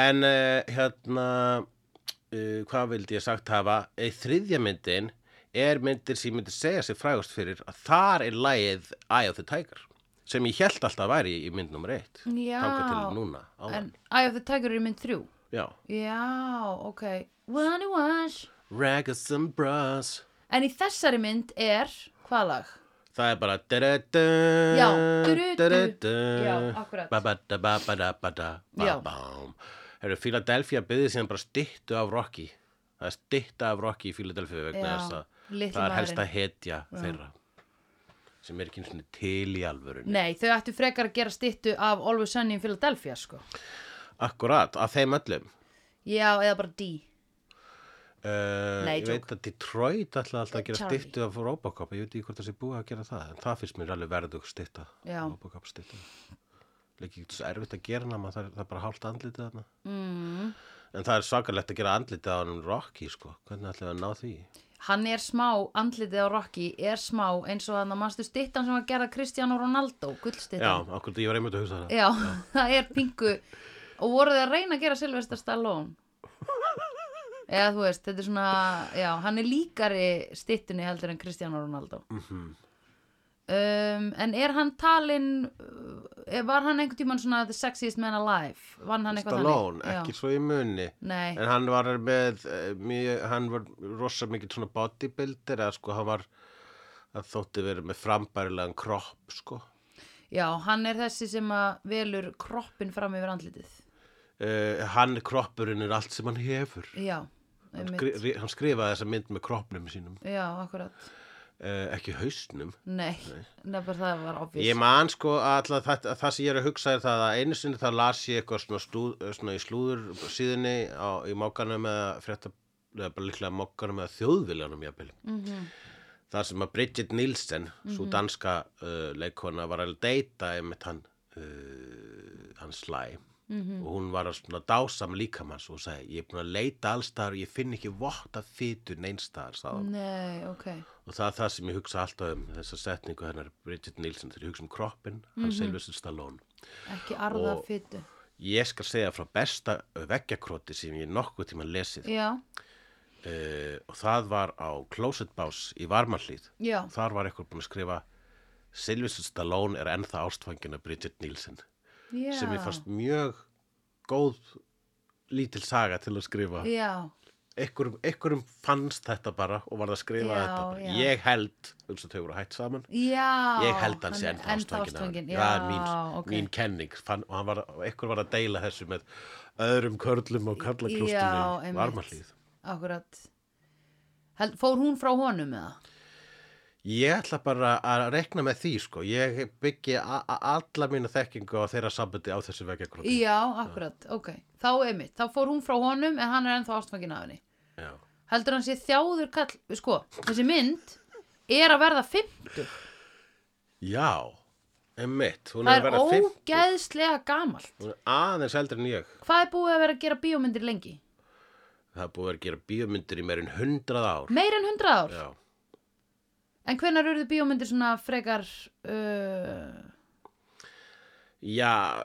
Speaker 1: En uh, hérna uh, Hvað vildi ég sagt hafa Í þriðja myndin er myndir sem ég myndi segja sig frægust fyrir að þar er lagið Eye of the Tiger sem ég held alltaf væri í mynd nummer eitt
Speaker 2: Já.
Speaker 1: Þangað til núna áðan.
Speaker 2: en Eye of the Tiger er í mynd þrjú
Speaker 1: Já
Speaker 2: Já, ok One wash
Speaker 1: Raggers and bras
Speaker 2: En í þessari mynd er, hvað lag?
Speaker 1: Það er bara da-da-da,
Speaker 2: Já, du-du-du.
Speaker 1: da-da-da,
Speaker 2: Já, akkurat.
Speaker 1: ba-ba-da-ba-ba-da-ba-da,
Speaker 2: Já.
Speaker 1: ba-bám. Herru, Philadelphia byggði síðan bara styttu af Rocky Það er stytta af Rocky í Philadelphia vegna
Speaker 2: Já,
Speaker 1: þess að
Speaker 2: litli
Speaker 1: það er helst
Speaker 2: maðurinn.
Speaker 1: að hetja þeirra sem er ekki einu sinni til í alvörunni
Speaker 2: Nei, þau ættu frekar að gera styttu af Always Sunny in Philadelphia, sko
Speaker 1: Akkurat, af þeim öllum
Speaker 2: Já, eða bara D
Speaker 1: Uh, ég
Speaker 2: Nei, joke.
Speaker 1: veit að Detroit ætlaði alltaf að gera
Speaker 2: Charlie.
Speaker 1: styttu af Robocop ég veit ekki hvort það sé búið að gera það en það finnst mér alveg verðug stytta
Speaker 2: Já.
Speaker 1: Robocop stytta líka ekki svo erfitt að gera hana maður, það, er, það er bara hálft andlitið hana
Speaker 2: mm.
Speaker 1: en það er svakalegt að gera andlitið á hann Rocky sko, hvernig ætlum við að ná því
Speaker 2: Hann er smá, andlitið á Rocky er smá eins og þannig að mannstu styttan sem að gera Cristiano Ronaldo,
Speaker 1: já,
Speaker 2: gullstyttan.
Speaker 1: okkur, ég var einmitt að hugsa það
Speaker 2: Já, það er pingu. Og voruð þið að reyna að gera Sylvester Stallone? Eða þú veist, þetta er svona, já, hann er líkari styttunni heldur en Cristiano Ronaldo.
Speaker 1: Mhm.
Speaker 2: um, en er hann talinn, uh, var hann einhvern tímann svona the sexiest man alive? Vann hann eitthvað
Speaker 1: Stallone,
Speaker 2: þannig?
Speaker 1: ekki svo í munni
Speaker 2: Já. Nei,
Speaker 1: en hann var með eh, mjög, hann var rosa mikið svona bodybuilder eða sko hann var það þótti verið með frambærilegan kropp sko
Speaker 2: já, hann er þessi sem að velur kroppin fram yfir andlitið.
Speaker 1: uh, hann kroppurinn er allt sem hann hefur
Speaker 2: Já,
Speaker 1: hann,
Speaker 2: einmitt.
Speaker 1: skri, ri- hann skrifaði þessa mynd með kroppnum sínum
Speaker 2: Já, akkurat.
Speaker 1: uh, ekki hausnum
Speaker 2: Nei, nefnir það var obvious.
Speaker 1: Ég man sko að alltaf það, það sem ég er að hugsa er það að einu sinni þá las ég eitthvað svona, stúð, svona í slúður síðunni á, í mokkanum eða frétta, eða bara líklega mokkanum eða þjóðviljanum jafnvel. Mm
Speaker 2: Mhm,
Speaker 1: -hmm. Þar sem að Bridget Nielsen, svo danska uh, leikona, var að deyta einmitt hann, uh, hann slæ.
Speaker 2: mhm.
Speaker 1: Og hún var að svona um dásam líkamans og sagði, ég er búin að leita allstaðar og ég finn ekki votta fytu neinstaðar, sagði
Speaker 2: Mhm.
Speaker 1: hún.
Speaker 2: Nei, ok.
Speaker 1: Og það er það sem ég hugsa alltaf um þessa setningu hennar Bridget Nielsen þegar ég hugsa um kroppin, hann mm -hmm. Stallone.
Speaker 2: Ekki arða
Speaker 1: Og-
Speaker 2: fytu.
Speaker 1: Ég skal segja frá besta veggjakróti sem ég nokkuð tíma lesið
Speaker 2: Já,
Speaker 1: uh, og það var á Closet Bás í Varmanhlíð.
Speaker 2: já.
Speaker 1: Þar var eitthvað búin að skrifa Sylvester Stallone er ennþá ástfangin af Bridget Nielsen
Speaker 2: Já.
Speaker 1: sem ég fannst mjög góð lítil saga til að skrifa.
Speaker 2: Já,
Speaker 1: Ekkurum, ekkurum fannst þetta bara og var það að skrifa
Speaker 2: Já,
Speaker 1: þetta bara.
Speaker 2: já.
Speaker 1: Ég held, um þess að þau voru hætt saman,
Speaker 2: já.
Speaker 1: ég held hann sé
Speaker 2: er
Speaker 1: ennþá
Speaker 2: ennþá
Speaker 1: ástfangin
Speaker 2: ástfanginn.
Speaker 1: af henni.
Speaker 2: Já,
Speaker 1: það er mín,
Speaker 2: ok.
Speaker 1: mín kenning fann, og hann var, einhver var að deila þessu með öðrum körlum og
Speaker 2: Já,
Speaker 1: karlaklústum í
Speaker 2: einmitt.
Speaker 1: varmalíð
Speaker 2: Akkurat. Held, fór hún frá honum eða?
Speaker 1: ég ætla bara að rekna með því sko. ég byggi a- a- alla mína þekkingu á þeirra sambandi á þessu veggjakróti
Speaker 2: Já, akkurat, ok. Þá einmitt, þá fór hún frá honum en hann er ennþá ástfanginn af henni.
Speaker 1: já.
Speaker 2: Heldur hann sé þjáður kall, sko, þessi mynd er að verða 50.
Speaker 1: já, emmitt hún
Speaker 2: Það
Speaker 1: er
Speaker 2: er
Speaker 1: verið að fimm
Speaker 2: ógeðslega gamalt.
Speaker 1: hún er aðeins eldri en ég
Speaker 2: Hvað er búið að vera að gera bíómyndir lengi?
Speaker 1: það er búið að gera bíómyndir í meirin hundrað ár
Speaker 2: Meir en 100 ár?
Speaker 1: já.
Speaker 2: En hvenar eruðu bíómyndir svona frekar... Uh,
Speaker 1: já,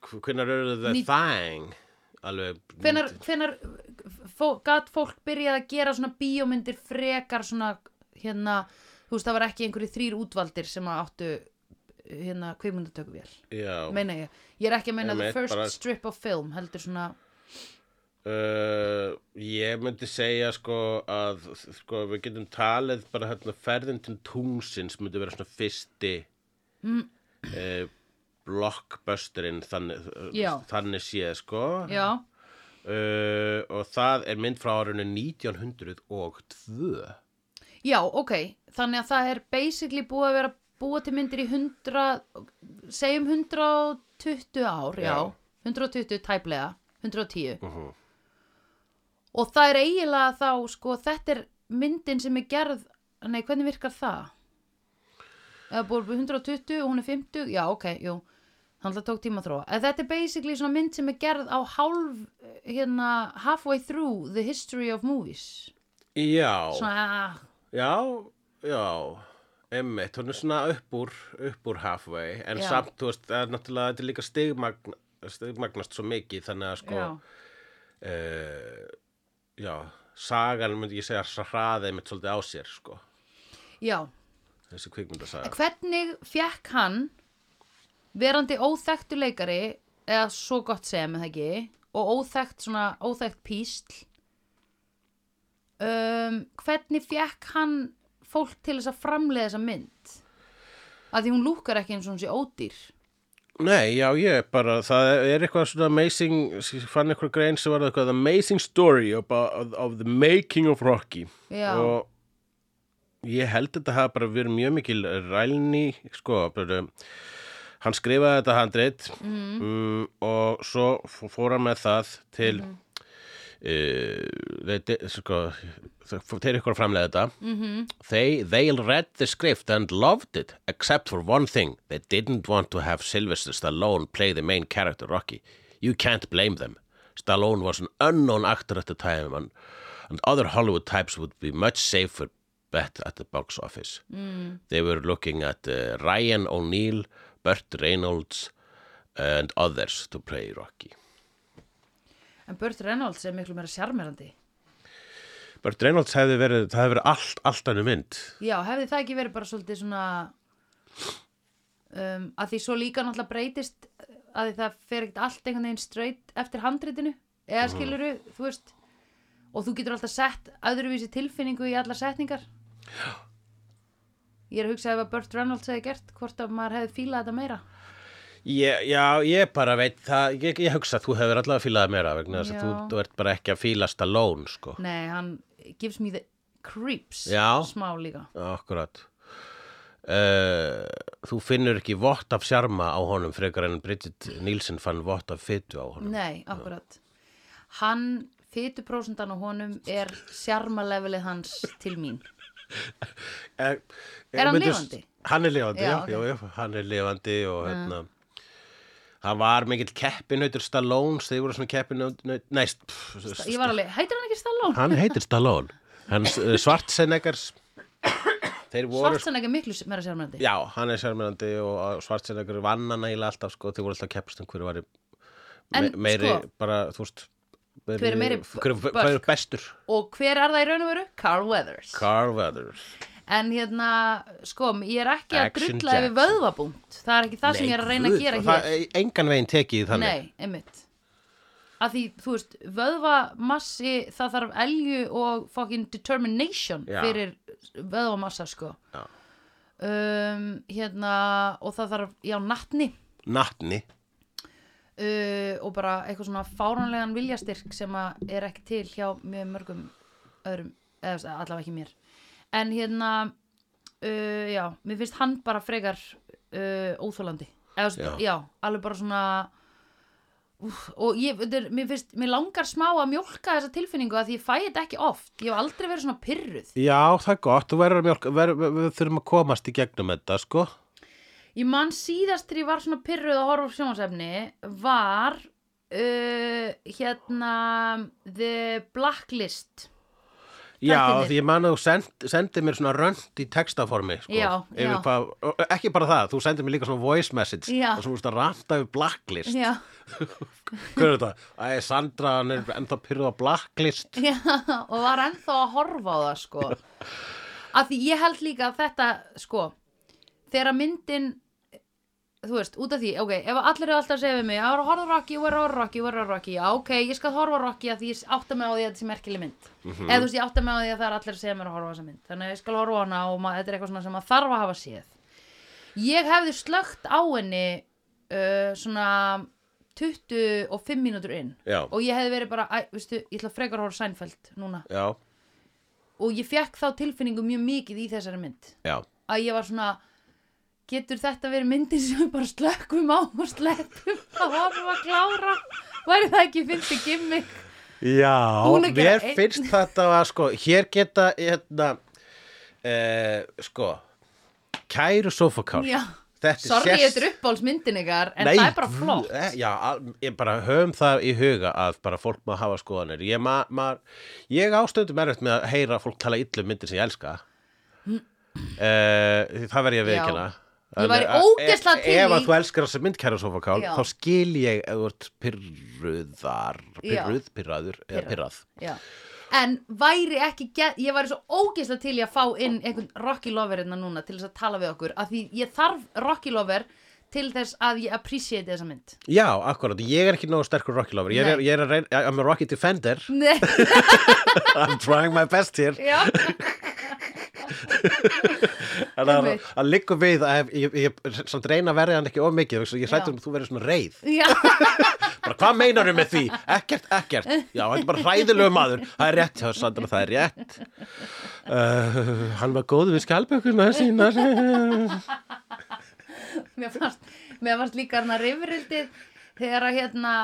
Speaker 1: hvernig eru þau
Speaker 2: Ný-
Speaker 1: þang alveg
Speaker 2: hvenar hvenar fó, gat fólk byrjað að gera svona bíómyndir frekar svona hérna... Þú veist, það var ekki einhverju þrýr útvaldir sem að áttu hérna kvimundatöku vel.
Speaker 1: já,
Speaker 2: Meina ég. Ég er ekki að meina
Speaker 1: Ég
Speaker 2: the
Speaker 1: veit,
Speaker 2: first
Speaker 1: bara-
Speaker 2: strip of film, heldur svona...
Speaker 1: Uh, ég myndi segja sko að sko, við getum talið bara hérna ferðin til tungsins myndi vera svona fyrsti mm. blockbusterinn þannig,
Speaker 2: Já.
Speaker 1: þannig séð sko
Speaker 2: Já,
Speaker 1: uh, og það er mynd frá árunni 1902
Speaker 2: já, ok. Þannig að það er basically búið að vera búa til myndir í 100, segjum 120 ár, já.
Speaker 1: Já.
Speaker 2: 120 tæplega,
Speaker 1: uh
Speaker 2: 110.
Speaker 1: -huh.
Speaker 2: Og það er eiginlega þá, sko, þetta er myndin sem er gerð, nei, hvernig virkar það? Eða búið upp í 120 og hún er 50, já, ok, jú, þannig að tók tíma að þróa. En þetta er basically svona mynd sem er gerð á hálf, hérna, halfway through the history of movies.
Speaker 1: já
Speaker 2: Svona,
Speaker 1: já, já emmitt, hún er svona upp úr upp úr halfway en
Speaker 2: Já.
Speaker 1: samt, þú veist, það er náttúrulega þetta er líka stigmagn, stigmagnast svo mikið þannig að sko
Speaker 2: já,
Speaker 1: uh, já, sagan myndi ég segja að hraðið mitt svolítið á sér sko,
Speaker 2: já.
Speaker 1: þessi kvikmyndasaga
Speaker 2: Hvernig fekk hann verandi óþekktu leikari, eða svo gott sem, eða ekki, og óþekkt svona, óþekkt písl, um, hvernig fekk hann fólk til þess að framleiða þessa mynd? Að því hún lúkar ekki eins og hún sé ódýr.
Speaker 1: Nei, já, ég bara, það er eitthvað svona amazing, ég fann eitthvað grein sem var eitthvað the amazing story of, of, of the making of Rocky
Speaker 2: Já.
Speaker 1: og ég held þetta hafa bara verið mjög mikil rælni, sko, bara, hann skrifaði þetta handrit mm. og svo f- fór hann með það til mm uh, þeir, sko, þeir ykkur að framlega þetta mm -hmm. they, they read the script and loved it except for one thing they didn't want to have Sylvester Stallone play the main character Rocky you can't blame them Stallone was an unknown actor at the time and, and other Hollywood types would be much safer bet at the box office mm. they were looking at uh, Ryan O'Neal Burt Reynolds and others to play Rocky
Speaker 2: En Burt Reynolds er miklu meira sjarmerandi.
Speaker 1: Burt Reynolds hefði verið, það hefði verið allt, allt annu mynd.
Speaker 2: Já, hefði það ekki verið bara svolítið svona um, að því svo líka náttúrulega breytist eh, að því það fer ekkert allt einhvern veginn straight eftir handritinu eða skiluru, þú veist og þú getur alltaf sett öðruvísi tilfinningu í alla setningar. Já. Ég er að hugsa ef að Burt Reynolds hefði gert hvort að maður hefði fílað þetta meira.
Speaker 1: Ég, já, ég bara veit það, ég, ég hugsa að þú hefur allavega fílað meira vegna þess að
Speaker 2: Já. Mm.
Speaker 1: þú, þú ert bara ekki að fílast að lón, sko.
Speaker 2: Nei, hann gives me the creeps
Speaker 1: Já.
Speaker 2: smá líka.
Speaker 1: Akkurat. Uh, þú finnur ekki vott af sjarma á honum frekar en Bridget Nielsen fann vott af fytu á honum.
Speaker 2: Nei, akkurat Hann, fytuprósundan á honum er sjarmalevelið hans til mín
Speaker 1: Er,
Speaker 2: Er hann lifandi?
Speaker 1: Eh, Hann er lifandi,
Speaker 2: Já,
Speaker 1: já, já,
Speaker 2: ok. Ah.
Speaker 1: já, hann er lifandi og hérna, hann var mikill keppinautur Stallone, þeir voru svona keppinautur, nei, pff,
Speaker 2: Ég var alveg, heitir hann ekki Stallone?
Speaker 1: hann heitir Stallone, hann Svartsenegars, þeir voru, sko-
Speaker 2: Svartsan ekki miklu meira sjarmalandi
Speaker 1: já, hann er sérmjöndi og Svartsenegar vann hann eiginlega alltaf, sko, þeir voru alltaf að keppast um hverju var me,
Speaker 2: En,
Speaker 1: meiri,
Speaker 2: sko-
Speaker 1: bara, þú veist,
Speaker 2: Hver er meiri
Speaker 1: hver,
Speaker 2: börk?
Speaker 1: hver er bestur?
Speaker 2: Og hver er það í raun og veru? Carl Weathers
Speaker 1: Carveather,
Speaker 2: En hérna, sko, ég er ekki að
Speaker 1: Action
Speaker 2: drulla yfir
Speaker 1: Jackson.
Speaker 2: vöðvabúnt Það er ekki það sem ég er að reyna að gera hér
Speaker 1: engan veginn tekið í þannig.
Speaker 2: Nei, einmitt að því, þú veist, vöðvamassi það þarf elju og fucking determination
Speaker 1: Já.
Speaker 2: fyrir vöðvamassa, sko
Speaker 1: Já.
Speaker 2: um, hérna og það þarf, já, nattni
Speaker 1: Natni.
Speaker 2: uh, og bara eitthvað svona fáránlegan viljastyrk sem að er ekki til hjá mjög mörgum öðrum, eða þú veist, allavega ekki mér en hérna uh, já, mér finnst hann bara frekar uh, óþólandi eða, þú veist,
Speaker 1: Já.
Speaker 2: já, alveg bara svona úf, og ég, þetta er, mér finnst mér langar smá að mjólka þessa tilfinningu að því ég fæ þetta ekki oft, ég hef aldrei verið svona pyrruð
Speaker 1: Já, það er gott, þú verður að mjölk, ver, ver, við þurfum að komast í gegnum þetta, sko.
Speaker 2: Ég man síðast þegar ég var svona pyrruð að horfa á sjónasefni var uh, hérna The Blacklist
Speaker 1: Já,
Speaker 2: Þættirnir.
Speaker 1: því ég man að þú send, sendið mér svona rönd í textaformi, sko.
Speaker 2: Já,
Speaker 1: yfir
Speaker 2: já.
Speaker 1: Hvað, og ekki bara það, þú sendið mér líka svona voice message
Speaker 2: Já.
Speaker 1: og svo múst að ranta yfir blacklist.
Speaker 2: Já,
Speaker 1: Hver er þetta? Æ, Sandra, hann er ennþá pyrrða blacklist.
Speaker 2: já, og var ennþá að horfa á það sko Af því ég held líka að þetta sko þegar að myndin þú veist, út af því, ok, ef allir eru alltaf að segja við mig, ég er að horfa á Rocky, ég er að horfa á Rocky, ég er að horfa á Rocky, já, ok, ég skal horfa á Rocky að því ég átta mig á því að þetta sé merkileg mynd eða þú veist, ég átta mig á því að það er allir að segja mér að horfa á þessa mynd þannig að ég skal horfa á hana og ma- þetta er eitthvað svona sem maður þarf að hafa séð ég hefði slögt á henni uh, svona 25 mínútur inn
Speaker 1: Já.
Speaker 2: og ég hefði verið bara, æ, veistu, ég ætla frekar að horfa á Seinfeld núna
Speaker 1: Já,
Speaker 2: og ég fekk þá tilfinningu mjög mikið í þessari mynd
Speaker 1: já.
Speaker 2: að ég var svona getur þetta verið myndin sem við bara slökkum á og sleppum að varum að klára væri það ekki fyndi gimmick
Speaker 1: Já,
Speaker 2: Búin að gera
Speaker 1: mér
Speaker 2: einn-
Speaker 1: finnst þetta að sko, hér geta, hérna, eh, sko, kæru sofakál.
Speaker 2: já,
Speaker 1: Þetta er
Speaker 2: sorry
Speaker 1: sérst-
Speaker 2: þetta er uppbólsmyndin ykkar en það er bara
Speaker 1: guð,
Speaker 2: flott
Speaker 1: eh, Já, al- ég bara höfum það í huga að bara fólk maður hafa skoðanir Ég, ma, ma, ég ástöndum erfitt með að heyra fólk tala illu myndir sem ég elska uh, Það verð ég að
Speaker 2: Já.
Speaker 1: viðkjöna
Speaker 2: Ég væri ógeðslega til
Speaker 1: Ef
Speaker 2: í-
Speaker 1: að þú elskar þessa myndkæra sofakál
Speaker 2: Já.
Speaker 1: þá skil ég eða þú ert pyrruðar
Speaker 2: Já.
Speaker 1: pyrruð, pyrraður, eða
Speaker 2: Pirrað.
Speaker 1: pyrrað
Speaker 2: já. en væri ekki get, ég væri svo ógeðslega til í að fá inn einhvern Rocky Lover hérna núna til þess að tala við okkur af því ég þarf Rocky Lover til þess að ég appreciate þessa mynd
Speaker 1: Já, akkurat, ég er ekki nógu sterkur Rocky lover Ég er,
Speaker 2: Nei.
Speaker 1: ég er að reyna, eh, I'm a Rocky defender
Speaker 2: Nei,
Speaker 1: I'm trying my best here
Speaker 2: já,
Speaker 1: En það
Speaker 2: Einmitt.
Speaker 1: það liggur við að ef, ég, ég samt reyna að verja hann ekki of mikið vegna þess að ég hrættur um að þú verður svona reið
Speaker 2: já,
Speaker 1: bara hvað meinar þau með því? Ekkert, ekkert já, hann er bara hræðilegu maður það er rétt, já, Sandra, það er rétt uh, hann var góð við skjálpökuna sína
Speaker 2: mér fannst, mér fannst líka hérna rifrildið þegar að hérna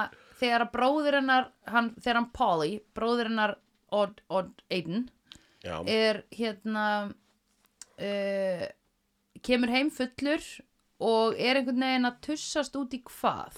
Speaker 2: þegar að bróður hennar hann, þegar hann Polly, bróður hennar Odd, Odd Aiden
Speaker 1: já,
Speaker 2: er hérna uh, kemur heim fullur og er einhvern veginn að tussast út í hvað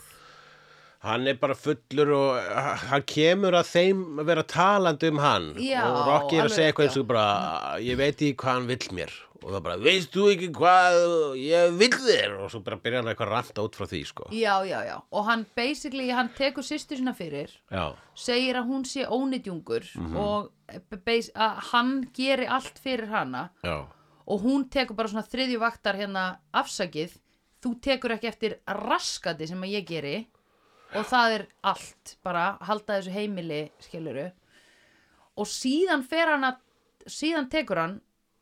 Speaker 1: hann er bara fullur og uh, hann kemur að þeim að vera talandi um hann
Speaker 2: Já,
Speaker 1: og Rocky er að
Speaker 2: alveg,
Speaker 1: segja eitthvað
Speaker 2: já.
Speaker 1: eins og bara ég veit ekki hvað hann vill mér og það bara, veist þú ekki hvað ég vill þér og svo bara byrja hann eitthvað að ranta út frá því sko.
Speaker 2: já, já, já, og hann basically hann tekur sýstu sína fyrir
Speaker 1: já,
Speaker 2: segir að hún sé ónýtjungur og b- bas- að hann geri allt fyrir hana
Speaker 1: já,
Speaker 2: og hún tekur bara svona þriðju vaktar hérna afsakið, þú tekur ekki eftir raskati sem að ég geri og það er allt bara halda þessu heimili skiluru og síðan fer hann að síðan tekur hann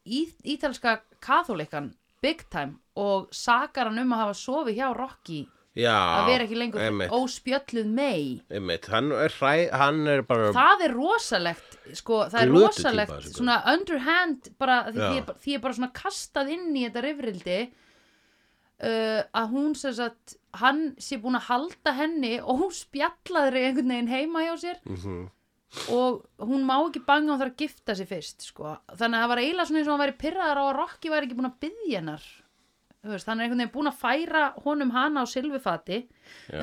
Speaker 2: í, ítalska katholikan big time og sakar hann um að hafa sofið hjá Rocky
Speaker 1: já
Speaker 2: að vera ekki lengur
Speaker 1: einmitt,
Speaker 2: óspjölluð mei
Speaker 1: einmitt. hann er hræ, hann er bara
Speaker 2: það er rosalegt sko, það er
Speaker 1: Glötuð típa,
Speaker 2: rosalegt
Speaker 1: þessi
Speaker 2: svona underhand bara, því,
Speaker 1: Já.
Speaker 2: því, er bara- því er bara svona kastað inn í þetta rifrildi uh, að hún sem sagt hann sé búin að halda henni og hún spjallaður einhvern veginn heima hjá sér
Speaker 1: Mhm.
Speaker 2: og hún má ekki banga hún þarf að gifta sig fyrst sko. þannig að það var eiginlega svona eins og hann væri pyrraðar á að Rocky væri ekki búin að byggja hennar Þú veist, hann er einhvern veginn búin að færa honum hana á silfufati
Speaker 1: Já.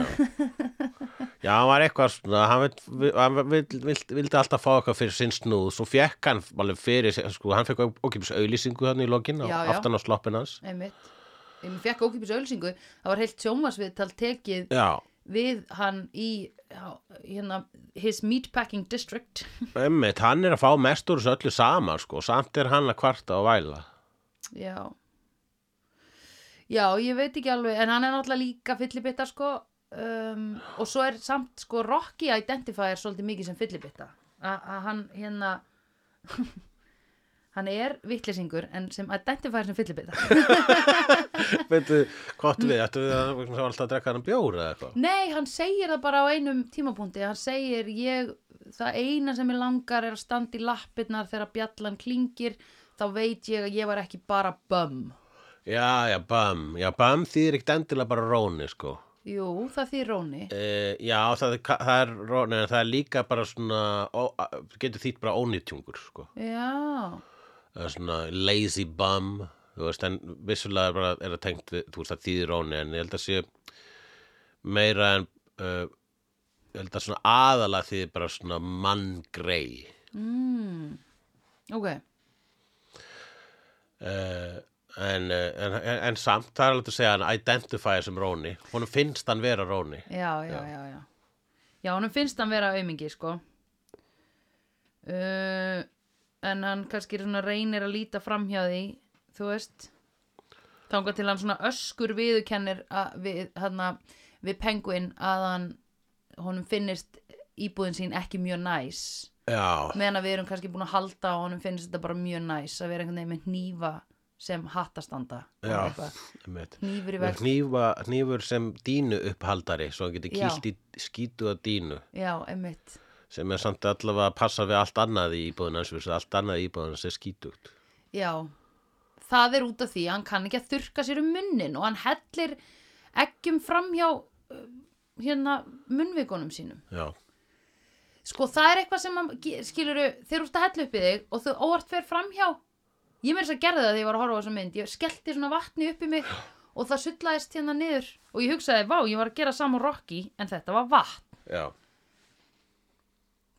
Speaker 1: Já, hann var eitthvað svona, hann, vill, hann vill, vill, vildi alltaf fá eitthvað fyrir sinn snúð, svo fekk hann alveg fyrir, sko, hann fekk okkipis auðlýsingu þannig í lokin,
Speaker 2: Já,
Speaker 1: á-
Speaker 2: já.
Speaker 1: aftan á sloppin hans.
Speaker 2: einmitt ég fekk ókipis ölsingu, það var heilt sjómasviðtal tekið
Speaker 1: Já,
Speaker 2: við hann í á- hérna, his meatpacking district
Speaker 1: emmitt, hann er að fá mest úr þessu öllu saman, sko, samt er hann að kvarta og væla.
Speaker 2: já já, ég veit ekki alveg en hann er náttúrulega líka fyllibitta sko um, og svo er samt sko Rocky Identifier svolítið mikið sem fyllibitta A- að hann hérna hann er vittlisingur en sem Identifier sem fyllibitta
Speaker 1: Veitu, hvort við, ættu við að það var alltaf að drekka hann bjór eða eitthvað?
Speaker 2: nei, hann segir það bara á einum tímapunkti hann segir ég, það eina sem ég langar er að standa í lappirnar þegar bjallan klingir þá veit ég að ég var ekki bara bum
Speaker 1: Já, já, bam, já, bam þýðir ekkert endilega bara róni, sko.
Speaker 2: Jú, það þýr róni.
Speaker 1: Uh, já, það er, ka- það er róni, en það er líka bara svona, ó, getur þýtt bara ónýtjungur, sko.
Speaker 2: Já,
Speaker 1: eða svona lazy bum þú veist, en vissulega er bara er það tengt við, þú veist, það þýðir óni en ég held að sé meira en uh, ég held að svona aðalega þýðir bara svona manngrei
Speaker 2: Mm. ok.
Speaker 1: uh, en, uh, en, en, en samt það er alveg að segja að hann identifæja sem róni honum finnst hann vera róni
Speaker 2: Já, já, já, já. Já, honum finnst hann vera aumingi, sko. Uh, en hann kannski svona reynir að líta framhjá því, þú veist. Þangar til hann svona öskur viðukennir að, við, hana, við penguin að hann, honum finnist íbúðin sín ekki mjög næs.
Speaker 1: já,
Speaker 2: Meðan að við erum kannski búin að halda og honum finnst þetta bara mjög næs að vera einhvern veginn með hnífa sem hattastanda. og
Speaker 1: já,
Speaker 2: eitthvað.
Speaker 1: einmitt.
Speaker 2: Hnífur í vegg.
Speaker 1: Hnífa, hnífur sem dínu upphaldari svo hann getur
Speaker 2: Já.
Speaker 1: kýlt í skítuða dínu
Speaker 2: Já, emmitt.
Speaker 1: sem er samt allavega að passa við allt annað í íbúðun hans versus allt annað í íbúðun hans er skítugt
Speaker 2: Já. Það er út af því að hann kann ekki að þurka sér um munnin og hann hellir eggjum fram hjá uh, hérna munnvikunum sínum.
Speaker 1: já,
Speaker 2: Sko það er eitthvað sem skilur þeir út að hella upp í þig og þau óvart fer fram hjá. Ég meira þess að gerði það þegar ég var að horfa á þessa mynd. Ég skellti svona vatni upp í mig og það sullaðist hérna niður og ég hugsaði, vá, ég var að gera saman Rocky en þetta var vatn.
Speaker 1: já,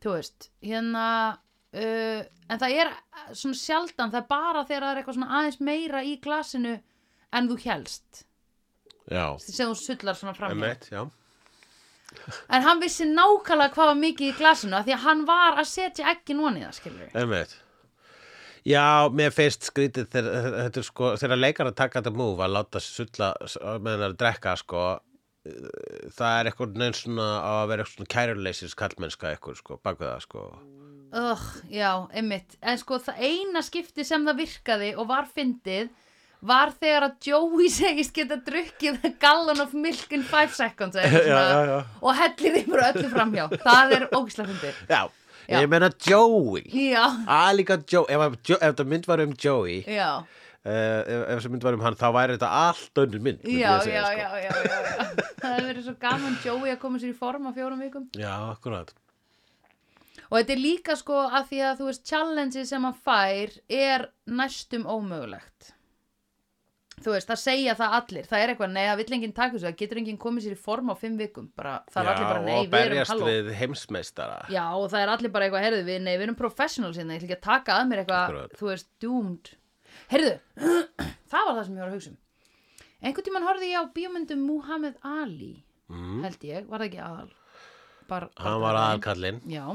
Speaker 2: þú veist, hérna uh, en það er uh, svona sjaldan það er bara þegar það er eitthvað svona aðeins meira í glasinu en þú helst
Speaker 1: já
Speaker 2: sem þú sullar svona fram hjá.
Speaker 1: Emmett, já
Speaker 2: en hann vissi nákvæmlega hvað var mikið í glasinu af því að hann var að setja ekki noni það skilur við
Speaker 1: Emmett Já, mér finnst skrítið þegar, þetta er sko, þegar leikar að taka þetta múf að láta sulla meðan að drekka sko, eh, það er eitthvað neins svona á að vera eitthvað svona kæruleysis kallmennska eitthvað sko, bak við það sko
Speaker 2: Ugh, já, einmitt. En sko það eina skipti sem það virkaði og var fyndið var þegar að Joey segist geta drukkið a gallon of milk in five seconds já,
Speaker 1: Já, já, já.
Speaker 2: og hellir þeim bara öllu framhjá. Það er ógislega fyndið.
Speaker 1: Já,
Speaker 2: Já.
Speaker 1: ég meina Joey
Speaker 2: Já,
Speaker 1: Ah, Alíka Joey, ef, að Jo- ef þetta mynd var um Joey
Speaker 2: já.
Speaker 1: eh, eh, ef, ef þessi mynd var um hann þá væri þetta allt önnur mynd myndi
Speaker 2: já,
Speaker 1: ég segja,
Speaker 2: já,
Speaker 1: sko.
Speaker 2: já, já, já, já. það hefur verið svo gaman Joey að koma sér í form á fjórum vikum
Speaker 1: já, akkurat
Speaker 2: og þetta er líka sko að því að þú veist challenge sem hann fær er næstum ómögulegt þú veist, það segja það allir það er eitthvað, nei, það vill enginn taka þessu það getur enginn komið sér í form á fimm vikum bara, það er
Speaker 1: já,
Speaker 2: allir bara,
Speaker 1: og
Speaker 2: nei, við erum
Speaker 1: berjast
Speaker 2: halló
Speaker 1: við heimsmeistara
Speaker 2: já, og það er allir bara eitthvað, heyrðu, við, nei, við erum professionals hérna, ég ætla ekki að taka að mér eitthvað
Speaker 1: Akkurat.
Speaker 2: þú veist, doomed heyrðu, það var það sem ég var að hugsa um einhvern tímann horfði ég á bíómyndum Muhammad Ali,
Speaker 1: mm.
Speaker 2: held ég, var það ekki aðal bara,
Speaker 1: hann var aðalkallinn
Speaker 2: Já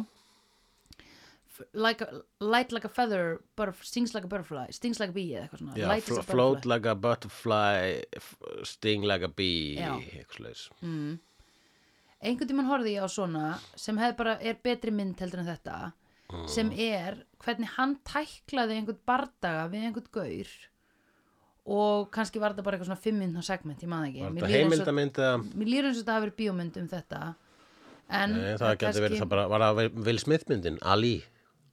Speaker 2: F- like a, Light like a feather butterf- Stings like a butterfly Stings like a bee eða eitthvað svona
Speaker 1: Já,
Speaker 2: Light
Speaker 1: fl
Speaker 2: is a
Speaker 1: float
Speaker 2: butterfly
Speaker 1: like a butterfly f- sting like a bee
Speaker 2: Já.
Speaker 1: eitthvað svoleiðis.
Speaker 2: Einhvern tímann horfði ég á svona sem hefði bara er betri mynd heldur en þetta
Speaker 1: Ah.
Speaker 2: sem er hvernig hann tæklaði einhvern bardaga við einhvern gaur og kannski var þetta bara eitthvað svona fimm minna segment, ég maður ekki
Speaker 1: var
Speaker 2: Mér
Speaker 1: þetta
Speaker 2: líður eins og- Mm,
Speaker 1: heimildamynd eða
Speaker 2: Mér líður eins og þetta hafi verið bíómynd um þetta en
Speaker 1: Nei, það getur verið það bara, var það Will Smith myndin, Ali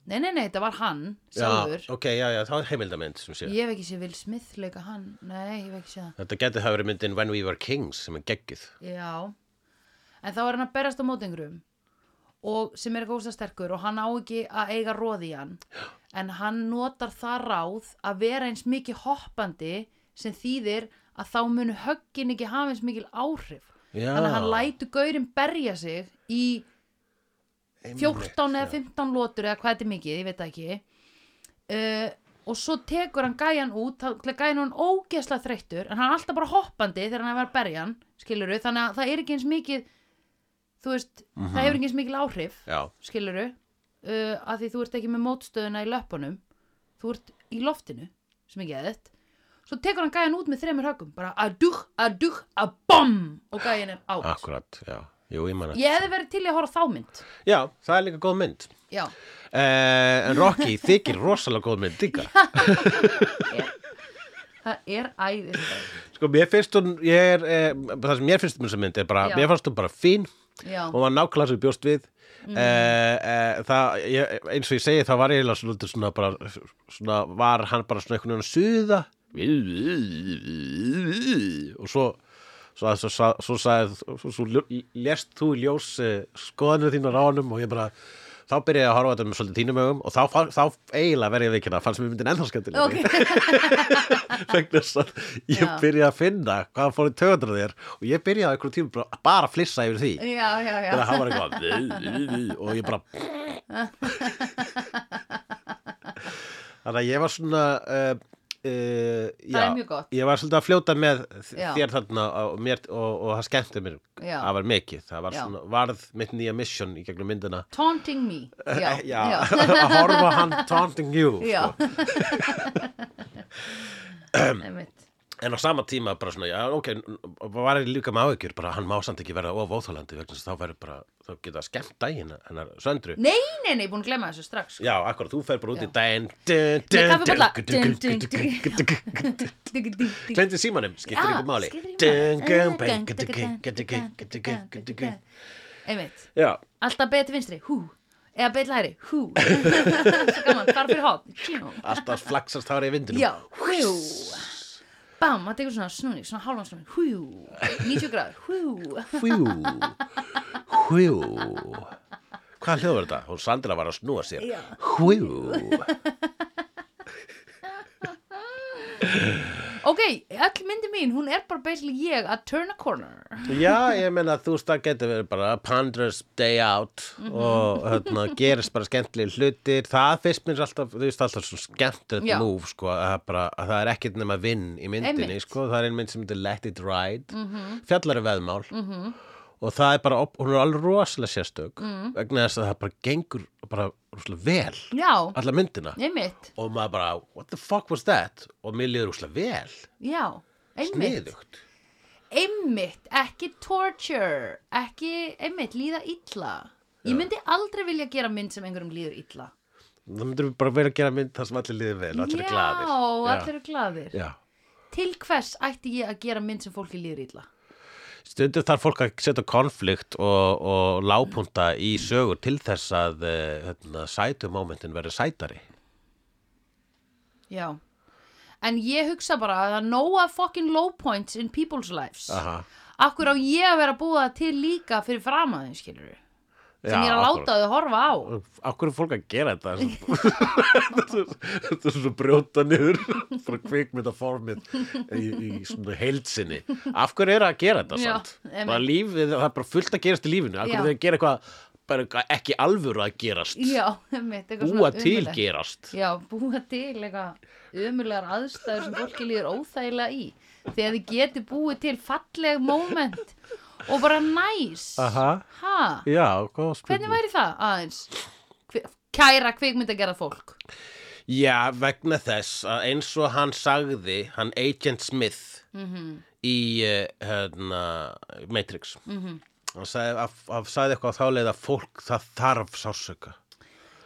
Speaker 2: Nei, nei, nei, þetta var hann sjálfur
Speaker 1: Já, ok, já, já, það var heimildamynd sem sé
Speaker 2: Ég hef ekki séð Will Smith leika hann Nei, ég hef ekki séð það
Speaker 1: Þetta getur það verið myndin When We Were Kings sem er geggjuð
Speaker 2: Já, en þá er hann að berast á mótingrum og sem er góðsta sterkur og hann á ekki að eiga róð í hann en hann notar það ráð að vera eins mikið hoppandi sem þýðir að þá munu höggin ekki hafa eins mikil áhrif
Speaker 1: Já.
Speaker 2: þannig að hann lætur gaurinn berja sig í 14 eða 15 lótur eða hvað þetta er mikið, ég veit það ekki uh, og svo tekur hann gæjan út þá er gæjan hann ógeðslega þreyttur en hann er alltaf bara hoppandi þegar hann er að vera að berja hann skiluru, þannig að það er ekki eins mikið þú veist, það hefur ekki eins mikil áhrif
Speaker 1: Mhm. Já,
Speaker 2: skiluru uh, að því þú ert ekki með mótstöðuna í löpunum þú ert í loftinu sem ekki eða þett svo tekur hann gæjan út með þremur högum bara að dug, að dug, að bom og gæjan er átt
Speaker 1: akkurat, já Jú, ég manna
Speaker 2: ég hefði verið til í að horfa á þá mynd
Speaker 1: Já, það er líka góð mynd
Speaker 2: já,
Speaker 1: eh, En Rocky þykir rosalega góð mynd líka
Speaker 2: það er æðislega
Speaker 1: Sko, mér finnst hún, ég er, eh, það sem mér finnst um þessa mynd er bara,
Speaker 2: Já.
Speaker 1: mér fannst hún bara fín
Speaker 2: já,
Speaker 1: og var nákvæmlega sem ég bjóst við mm. það, ég, eins og ég segi þá var ég eiginlega svolítið svona bara svona, var hann bara svona einhvern veginn að suða og svo svo, svo, svo, svo, sagði, svo, svo ljó- lest þú í ljós eh, skoðanir þínar á honum og ég bara þá byrjaði ég að horfa á þetta með svolítið þínum augum og þá, fann- þá eiginlega verið ég veikina fannst mér myndin ennþá skemmtilega
Speaker 2: ok
Speaker 1: vegna þess að ég
Speaker 2: Já.
Speaker 1: byrjaði að finna hvað fór í töðundra þér og ég byrjaði á einhverjum tíma bara, bara að flissa yfir því
Speaker 2: já, já, já
Speaker 1: þegar hann var eitthvað "Vý, vý, vý", og ég bara þannig að ég var svona uh, uh, já,
Speaker 2: Það er mjög gott.
Speaker 1: ég var svolítið að fljóta með
Speaker 2: Já.
Speaker 1: þér þarna og, mér, og, og það skemmti mér
Speaker 2: Já.
Speaker 1: það var mikið, það var
Speaker 2: Já.
Speaker 1: svona varð mitt nýja mission í gegnum myndina
Speaker 2: Taunting me Já,
Speaker 1: Eh, já,
Speaker 2: já,
Speaker 1: að horfa hann taunting you
Speaker 2: já.
Speaker 1: sko.
Speaker 2: Einmitt.
Speaker 1: en á sama tíma bara svona, já ok n- var ég líka með áhyggjur, bara hann má samt ekki verða of óþálandi vegna þess að þá verður bara þá geta skemmt daginn hennar söndru
Speaker 2: Nei, nei, nei, búin að glemma þessu strax sko.
Speaker 1: Já, akkurat, þú fer bara út í
Speaker 2: Já.
Speaker 1: daginn
Speaker 2: Með kaffibolla. Digg, digg, digg.
Speaker 1: Glendi símanum, skiptir
Speaker 2: Já,
Speaker 1: ykkur máli
Speaker 2: skiptir ykkur máli. Einmitt,
Speaker 1: Já,
Speaker 2: alltaf betur vinstri Hú, eða betur hæri Hú, svo gaman, fara fyrir hótt
Speaker 1: alltaf flaksast hári í vindunum
Speaker 2: Já, hú Bam, það tekur svona snúning, svona hálfan snúning Hú, 90 gráður Hú,
Speaker 1: Hjú, hjú Hvað hljóður þetta? Hún Sandra var að snúa sér
Speaker 2: Já.
Speaker 1: Hjú
Speaker 2: ok, öll myndi mín Hún er bara basically ég að turn a corner
Speaker 1: Já, ég meina að þú veist það getur verið bara Pandra's Day Out og hérna, gerist bara skemmtilegir hlutir það finnst mér alltaf, þú veist alltaf svo skemmtilegt
Speaker 2: Já.
Speaker 1: múf, sko, að það, bara, að það er ekkert nema vinn í myndinni,
Speaker 2: Einmitt. Mhm.
Speaker 1: sko það er ein mynd sem heitir Let It Ride mm -hmm. fjallari veðmál -hmm. og það er bara, hún er alveg rosalega sérstök
Speaker 2: Mhm.
Speaker 1: vegna þess að það bara gengur bara rosalega vel,
Speaker 2: Já,
Speaker 1: alla myndina
Speaker 2: einmitt,
Speaker 1: og maður bara, what the fuck was that og mér liður rosalega vel,
Speaker 2: já Einmitt
Speaker 1: sniðugt
Speaker 2: einmitt, ekki torture ekki, einmitt, líða illa ég myndi aldrei vilja gera mynd sem einhverjum líður illa
Speaker 1: það myndir við bara vera að gera mynd þar sem allir liður vel og allir
Speaker 2: já,
Speaker 1: er glaðir
Speaker 2: allir eru glaðir
Speaker 1: Já.
Speaker 2: til hvers ætti ég að gera mynd sem fólki líður illa
Speaker 1: Stundum þarf fólk að setja konflikt og, og lágpunta í sögur til þess að eh, hérna, sætu momentin verði sætari.
Speaker 2: já, en ég hugsa bara að það er nóga fucking low points in people's lives
Speaker 1: Aha.
Speaker 2: akkur á ég að vera að búa það til líka fyrir framaðin skilur sem ég er að láta þau horfa á
Speaker 1: Akkur er fólk að gera þetta Þetta er svo brjóta niður frá kvikmyndaformið í, í svona heildsinni Af hverju er það að gera þetta
Speaker 2: Já,
Speaker 1: samt?
Speaker 2: einmitt.
Speaker 1: Bara lífið, það er bara fullt að gerast í lífinu Af hverju
Speaker 2: Já.
Speaker 1: er það að gera eitthvað bara eitthvað ekki alvöru að gerast
Speaker 2: já, mitt, eitthvað
Speaker 1: Búa
Speaker 2: svona
Speaker 1: til
Speaker 2: ömurlegt.
Speaker 1: gerast
Speaker 2: já, búa til eitthvað ömulegar aðstæður sem fólki líður óþægilega í þegar þið geti búið til falleg moment og bara næs
Speaker 1: Aha.
Speaker 2: ha,
Speaker 1: Já, hvað
Speaker 2: hvernig væri það aðeins Hve- kæra kvikmynd að gera fólk
Speaker 1: Já, vegna þess að eins og hann sagði, hann Agent Smith
Speaker 2: Mhm.
Speaker 1: í uh, hérna, Matrix. Hann sagði, af, af, sagði eitthvað á þáleið að fólk það þarf sásöka.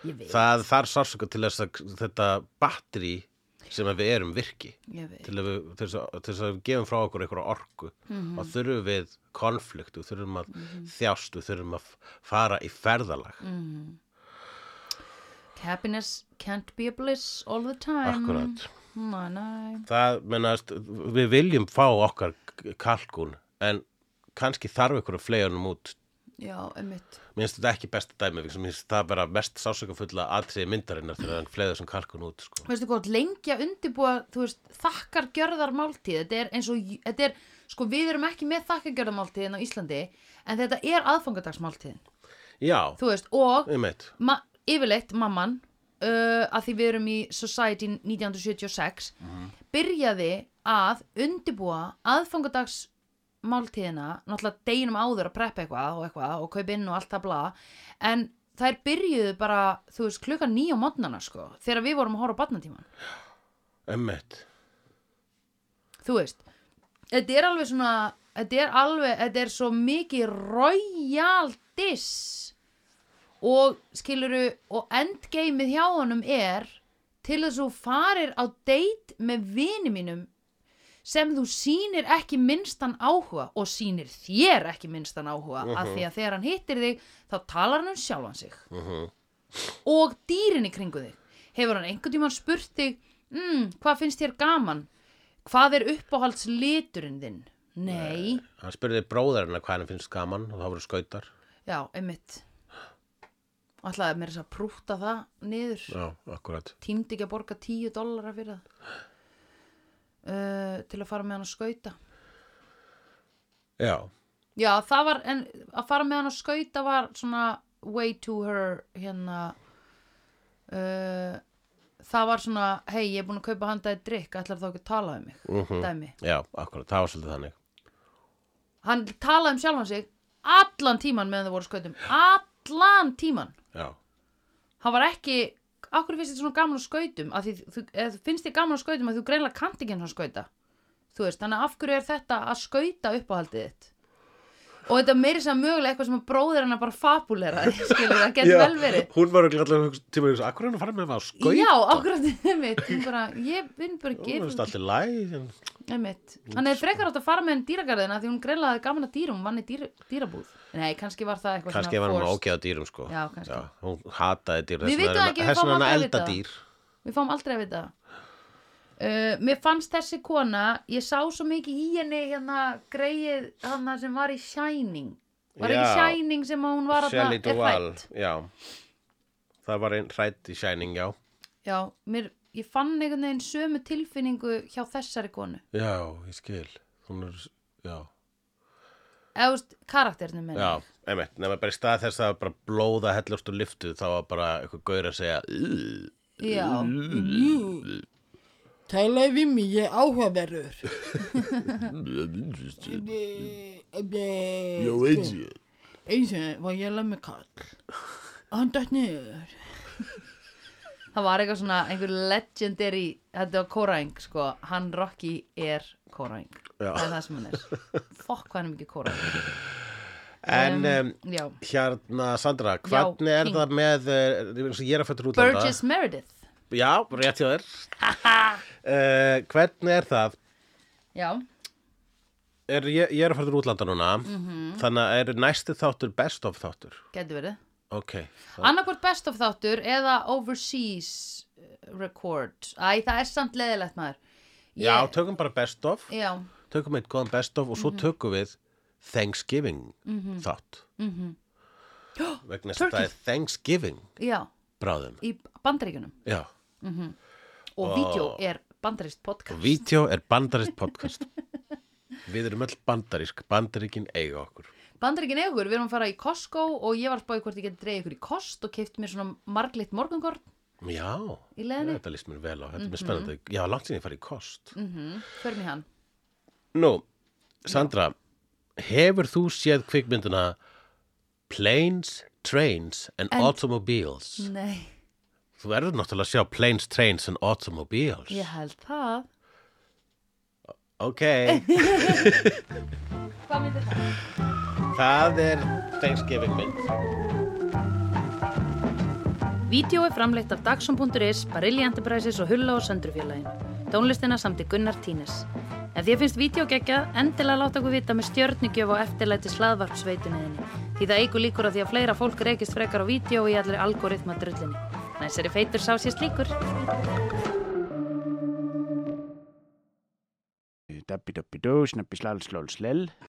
Speaker 2: ég veit,
Speaker 1: Það þarf sásöka til þess að þetta batteri sem að við erum virki.
Speaker 2: ég veit
Speaker 1: Til, að við, til, þess að, til þess að við gefum frá okkur einhverja orku og þurfum við konflikt og þurfum að þjást og þurfum að fara í ferðalag.
Speaker 2: happiness can't be a bliss all the time
Speaker 1: Akkurat.
Speaker 2: Næ, næ.
Speaker 1: það, mennast, við viljum fá okkar k- kalkún en kannski þarf ykkur að flega honum út
Speaker 2: já, einmitt
Speaker 1: mér finnst þetta ekki besta dæmi mér finnst það bara mest sásökafulla atriði myndarinnar þegar hann flega þessum kalkún út sko.
Speaker 2: veistu gott, lengi að undirbúa þú veist, þakkar gjörðar máltíð þetta er eins og, þetta er, sko við erum ekki með þakkar gjörðar máltíðin á Íslandi en þetta er aðfangadagsmáltíðin
Speaker 1: já,
Speaker 2: þú veist, og
Speaker 1: ég meit
Speaker 2: ma yfirleitt mamman uh, að því við erum í Society 1976 byrjaði að undibúa aðfangadagsmáltíðina náttúrulega deginum áður að preppa eitthvað og eitthvað og kaupa inn og allt það bla en þær byrjuðu bara þú veist klukkan nýja mótnana sko þegar við vorum að horfa á batnatíman
Speaker 1: Emmett,
Speaker 2: þú veist þetta er alveg svona þetta er alveg, þetta er svo mikið royal diss og skiluru og endgameið hjá honum er til þess að þú farir á date með vini mínum sem þú sýnir ekki minnstan áhuga og sýnir þér ekki minnstan áhuga af því að þegar hann hittir þig þá talar hann um sjálfan sig
Speaker 1: Mhm.
Speaker 2: og dýrin í kringu þig hefur hann einhvern tímann spurt þig mm, hvað finnst þér gaman hvað er uppáhalds liturinn þinn nei,
Speaker 1: hann spurði bróðarinn að hvað hann finnst gaman og það voru skautar
Speaker 2: já, einmitt ætlaði mér þess að prúta það niður
Speaker 1: já, akkurat
Speaker 2: tímdi ekki að borga 10 dollara fyrir það uh, til að fara með hann að skauta
Speaker 1: já,
Speaker 2: Já, það var, en að fara með hann á skauta var svona way to her hérna uh, það var svona hei, ég er búin að kaupa handaði drikk ætlar þá ekki að tala um mig, dæmi
Speaker 1: já, akkurat, það var svolítið þannig
Speaker 2: hann talaði um sjálfan sig allan tíman meðan það voru á skautum allan tíman,
Speaker 1: já,
Speaker 2: hann var ekki akkur finnst þér svona gaman á skautum að því, þú, eða þú finnst þér gaman á skautum að þú greinlega kannt ekki hann skauta þú veist, þannig að af hverju er þetta að skauta uppáhaldið þitt og þetta er meiri sem mögulega eitthvað sem að bróðir hennar bara fabulera skilur, það getur vel verið
Speaker 1: hún var alltaf tíma að hugsa, akkur hann að fara með maður skautar
Speaker 2: Já, akkurat, einmitt Hún bara, ég vinn bara
Speaker 1: hún finnst
Speaker 2: ekki
Speaker 1: allir læg en...
Speaker 2: einmitt Hann er frekar átt að fara með henn dýragarðina því hún greinlega hafði gaman að dýrum, hún vann í dýr, dýrabúð Nei, kannski var það eitthvað
Speaker 1: kannski var hann
Speaker 2: forced.
Speaker 1: ágæða dýrum sko
Speaker 2: Já, kannski.
Speaker 1: hún hataði dýr
Speaker 2: Við
Speaker 1: þess vegna
Speaker 2: vitum
Speaker 1: er-
Speaker 2: ekki, við
Speaker 1: þess
Speaker 2: fáum
Speaker 1: vegna er
Speaker 2: aldrei að
Speaker 1: elda
Speaker 2: vita.
Speaker 1: dýr
Speaker 2: Við fáum aldrei að vita það. Uh, mér fannst þessi kona, ég sá svo mikið í henni hérna greið hana sem var í Shining. Var
Speaker 1: Já.
Speaker 2: ekki Shining sem að hún var
Speaker 1: Shelley
Speaker 2: er
Speaker 1: Duvall
Speaker 2: hrædd?
Speaker 1: já. það var einn hrætt í Shining já.
Speaker 2: Já, mér, ég fann einhvern veginn sömu tilfinningu hjá þessari konu.
Speaker 1: já, ég skil hún er, já,
Speaker 2: Eða, þú veist, karakternum minni.
Speaker 1: já emitt, nema bara í stað þess að bara blóða hellust og lyftu þá var bara eitthvað gaur að segja "Ugh."
Speaker 2: Já.
Speaker 3: Talaði við mig, ég er áhugaverður. Já,
Speaker 1: veit ég.
Speaker 3: Eins og var ég alveg með kall. Hann dætt niður.
Speaker 2: Það var eitthvað svona, einhver legendary, þetta var Kóraing, sko, hann Rocky er Kóraing.
Speaker 1: Já.
Speaker 2: Það er það sem hann er. Fokk hvað hann er mikið Kóraing.
Speaker 1: en um,
Speaker 2: Já.
Speaker 1: Hérna, Sandra, hvernig er
Speaker 2: King.
Speaker 1: það með, eh, eins og ég er að fættur út
Speaker 2: Burgess Meredith.
Speaker 1: Já, rétt hjá þér. uh, hvernig er það
Speaker 2: Já.
Speaker 1: er, ég, ég er að fara til útlanda núna þannig að er næsti þáttur best of þáttur
Speaker 2: Gæti verið.
Speaker 1: ok,
Speaker 2: Annarkvort best uh, of þáttur eða overseas eh, record. Æ, það er samt leðilegt maður.
Speaker 1: Já, tökum bara best of
Speaker 2: já,
Speaker 1: tökum eitt góðan best of og svo tökum við Thanksgiving þátt -hmm. vegna þess að það er Thanksgiving
Speaker 2: já,
Speaker 1: bráðum
Speaker 2: í bandaríkunum
Speaker 1: já,
Speaker 2: og oh. vídeo er bandaríst podcast
Speaker 1: og vídeo er bandarist podcast við erum öll bandarísk bandaríkin eiga okkur
Speaker 2: Bandaríkin eða okkur, við erum að fara í Costco og ég var að spáði hvort ég geti dreigð ykkur í kost og keift mér svona marglitt morgungorn
Speaker 1: já,
Speaker 2: Í leiðinni?
Speaker 1: þetta líst mér vel á þetta er mér spennandi, já, langt sinni ég farið í kost
Speaker 2: mm -hmm. Förum í hann
Speaker 1: Nú, Sandra hefur þú séð kvikmynduna Planes, Trains and, Automobiles
Speaker 2: Nei,
Speaker 1: Þú verður náttúrulega að sjá Planes, Trains and Automobiles
Speaker 2: ég held það
Speaker 1: Ok,
Speaker 2: Hvað myndir það?
Speaker 1: það er Thanksgiving mynd
Speaker 2: Vídeó er framleitt af Dagsum.is, Barilli Enterprises og Hulla og Söndrufjörlægin. Tónlistina samt í Gunnar Tínes. Ef þér finnst vídeo geggjað, endilega láta okkur vita með stjörnugjöf og eftirlæti slaðvarpsveitunniðinni. Því það eigur líkur á því að fleira fólk reykist frekar á vídeo í allri algoritma drullinni. Næsari feitur sá sér slíkur.
Speaker 4: Dabbi dabbi dó, snabbi slal slól slel.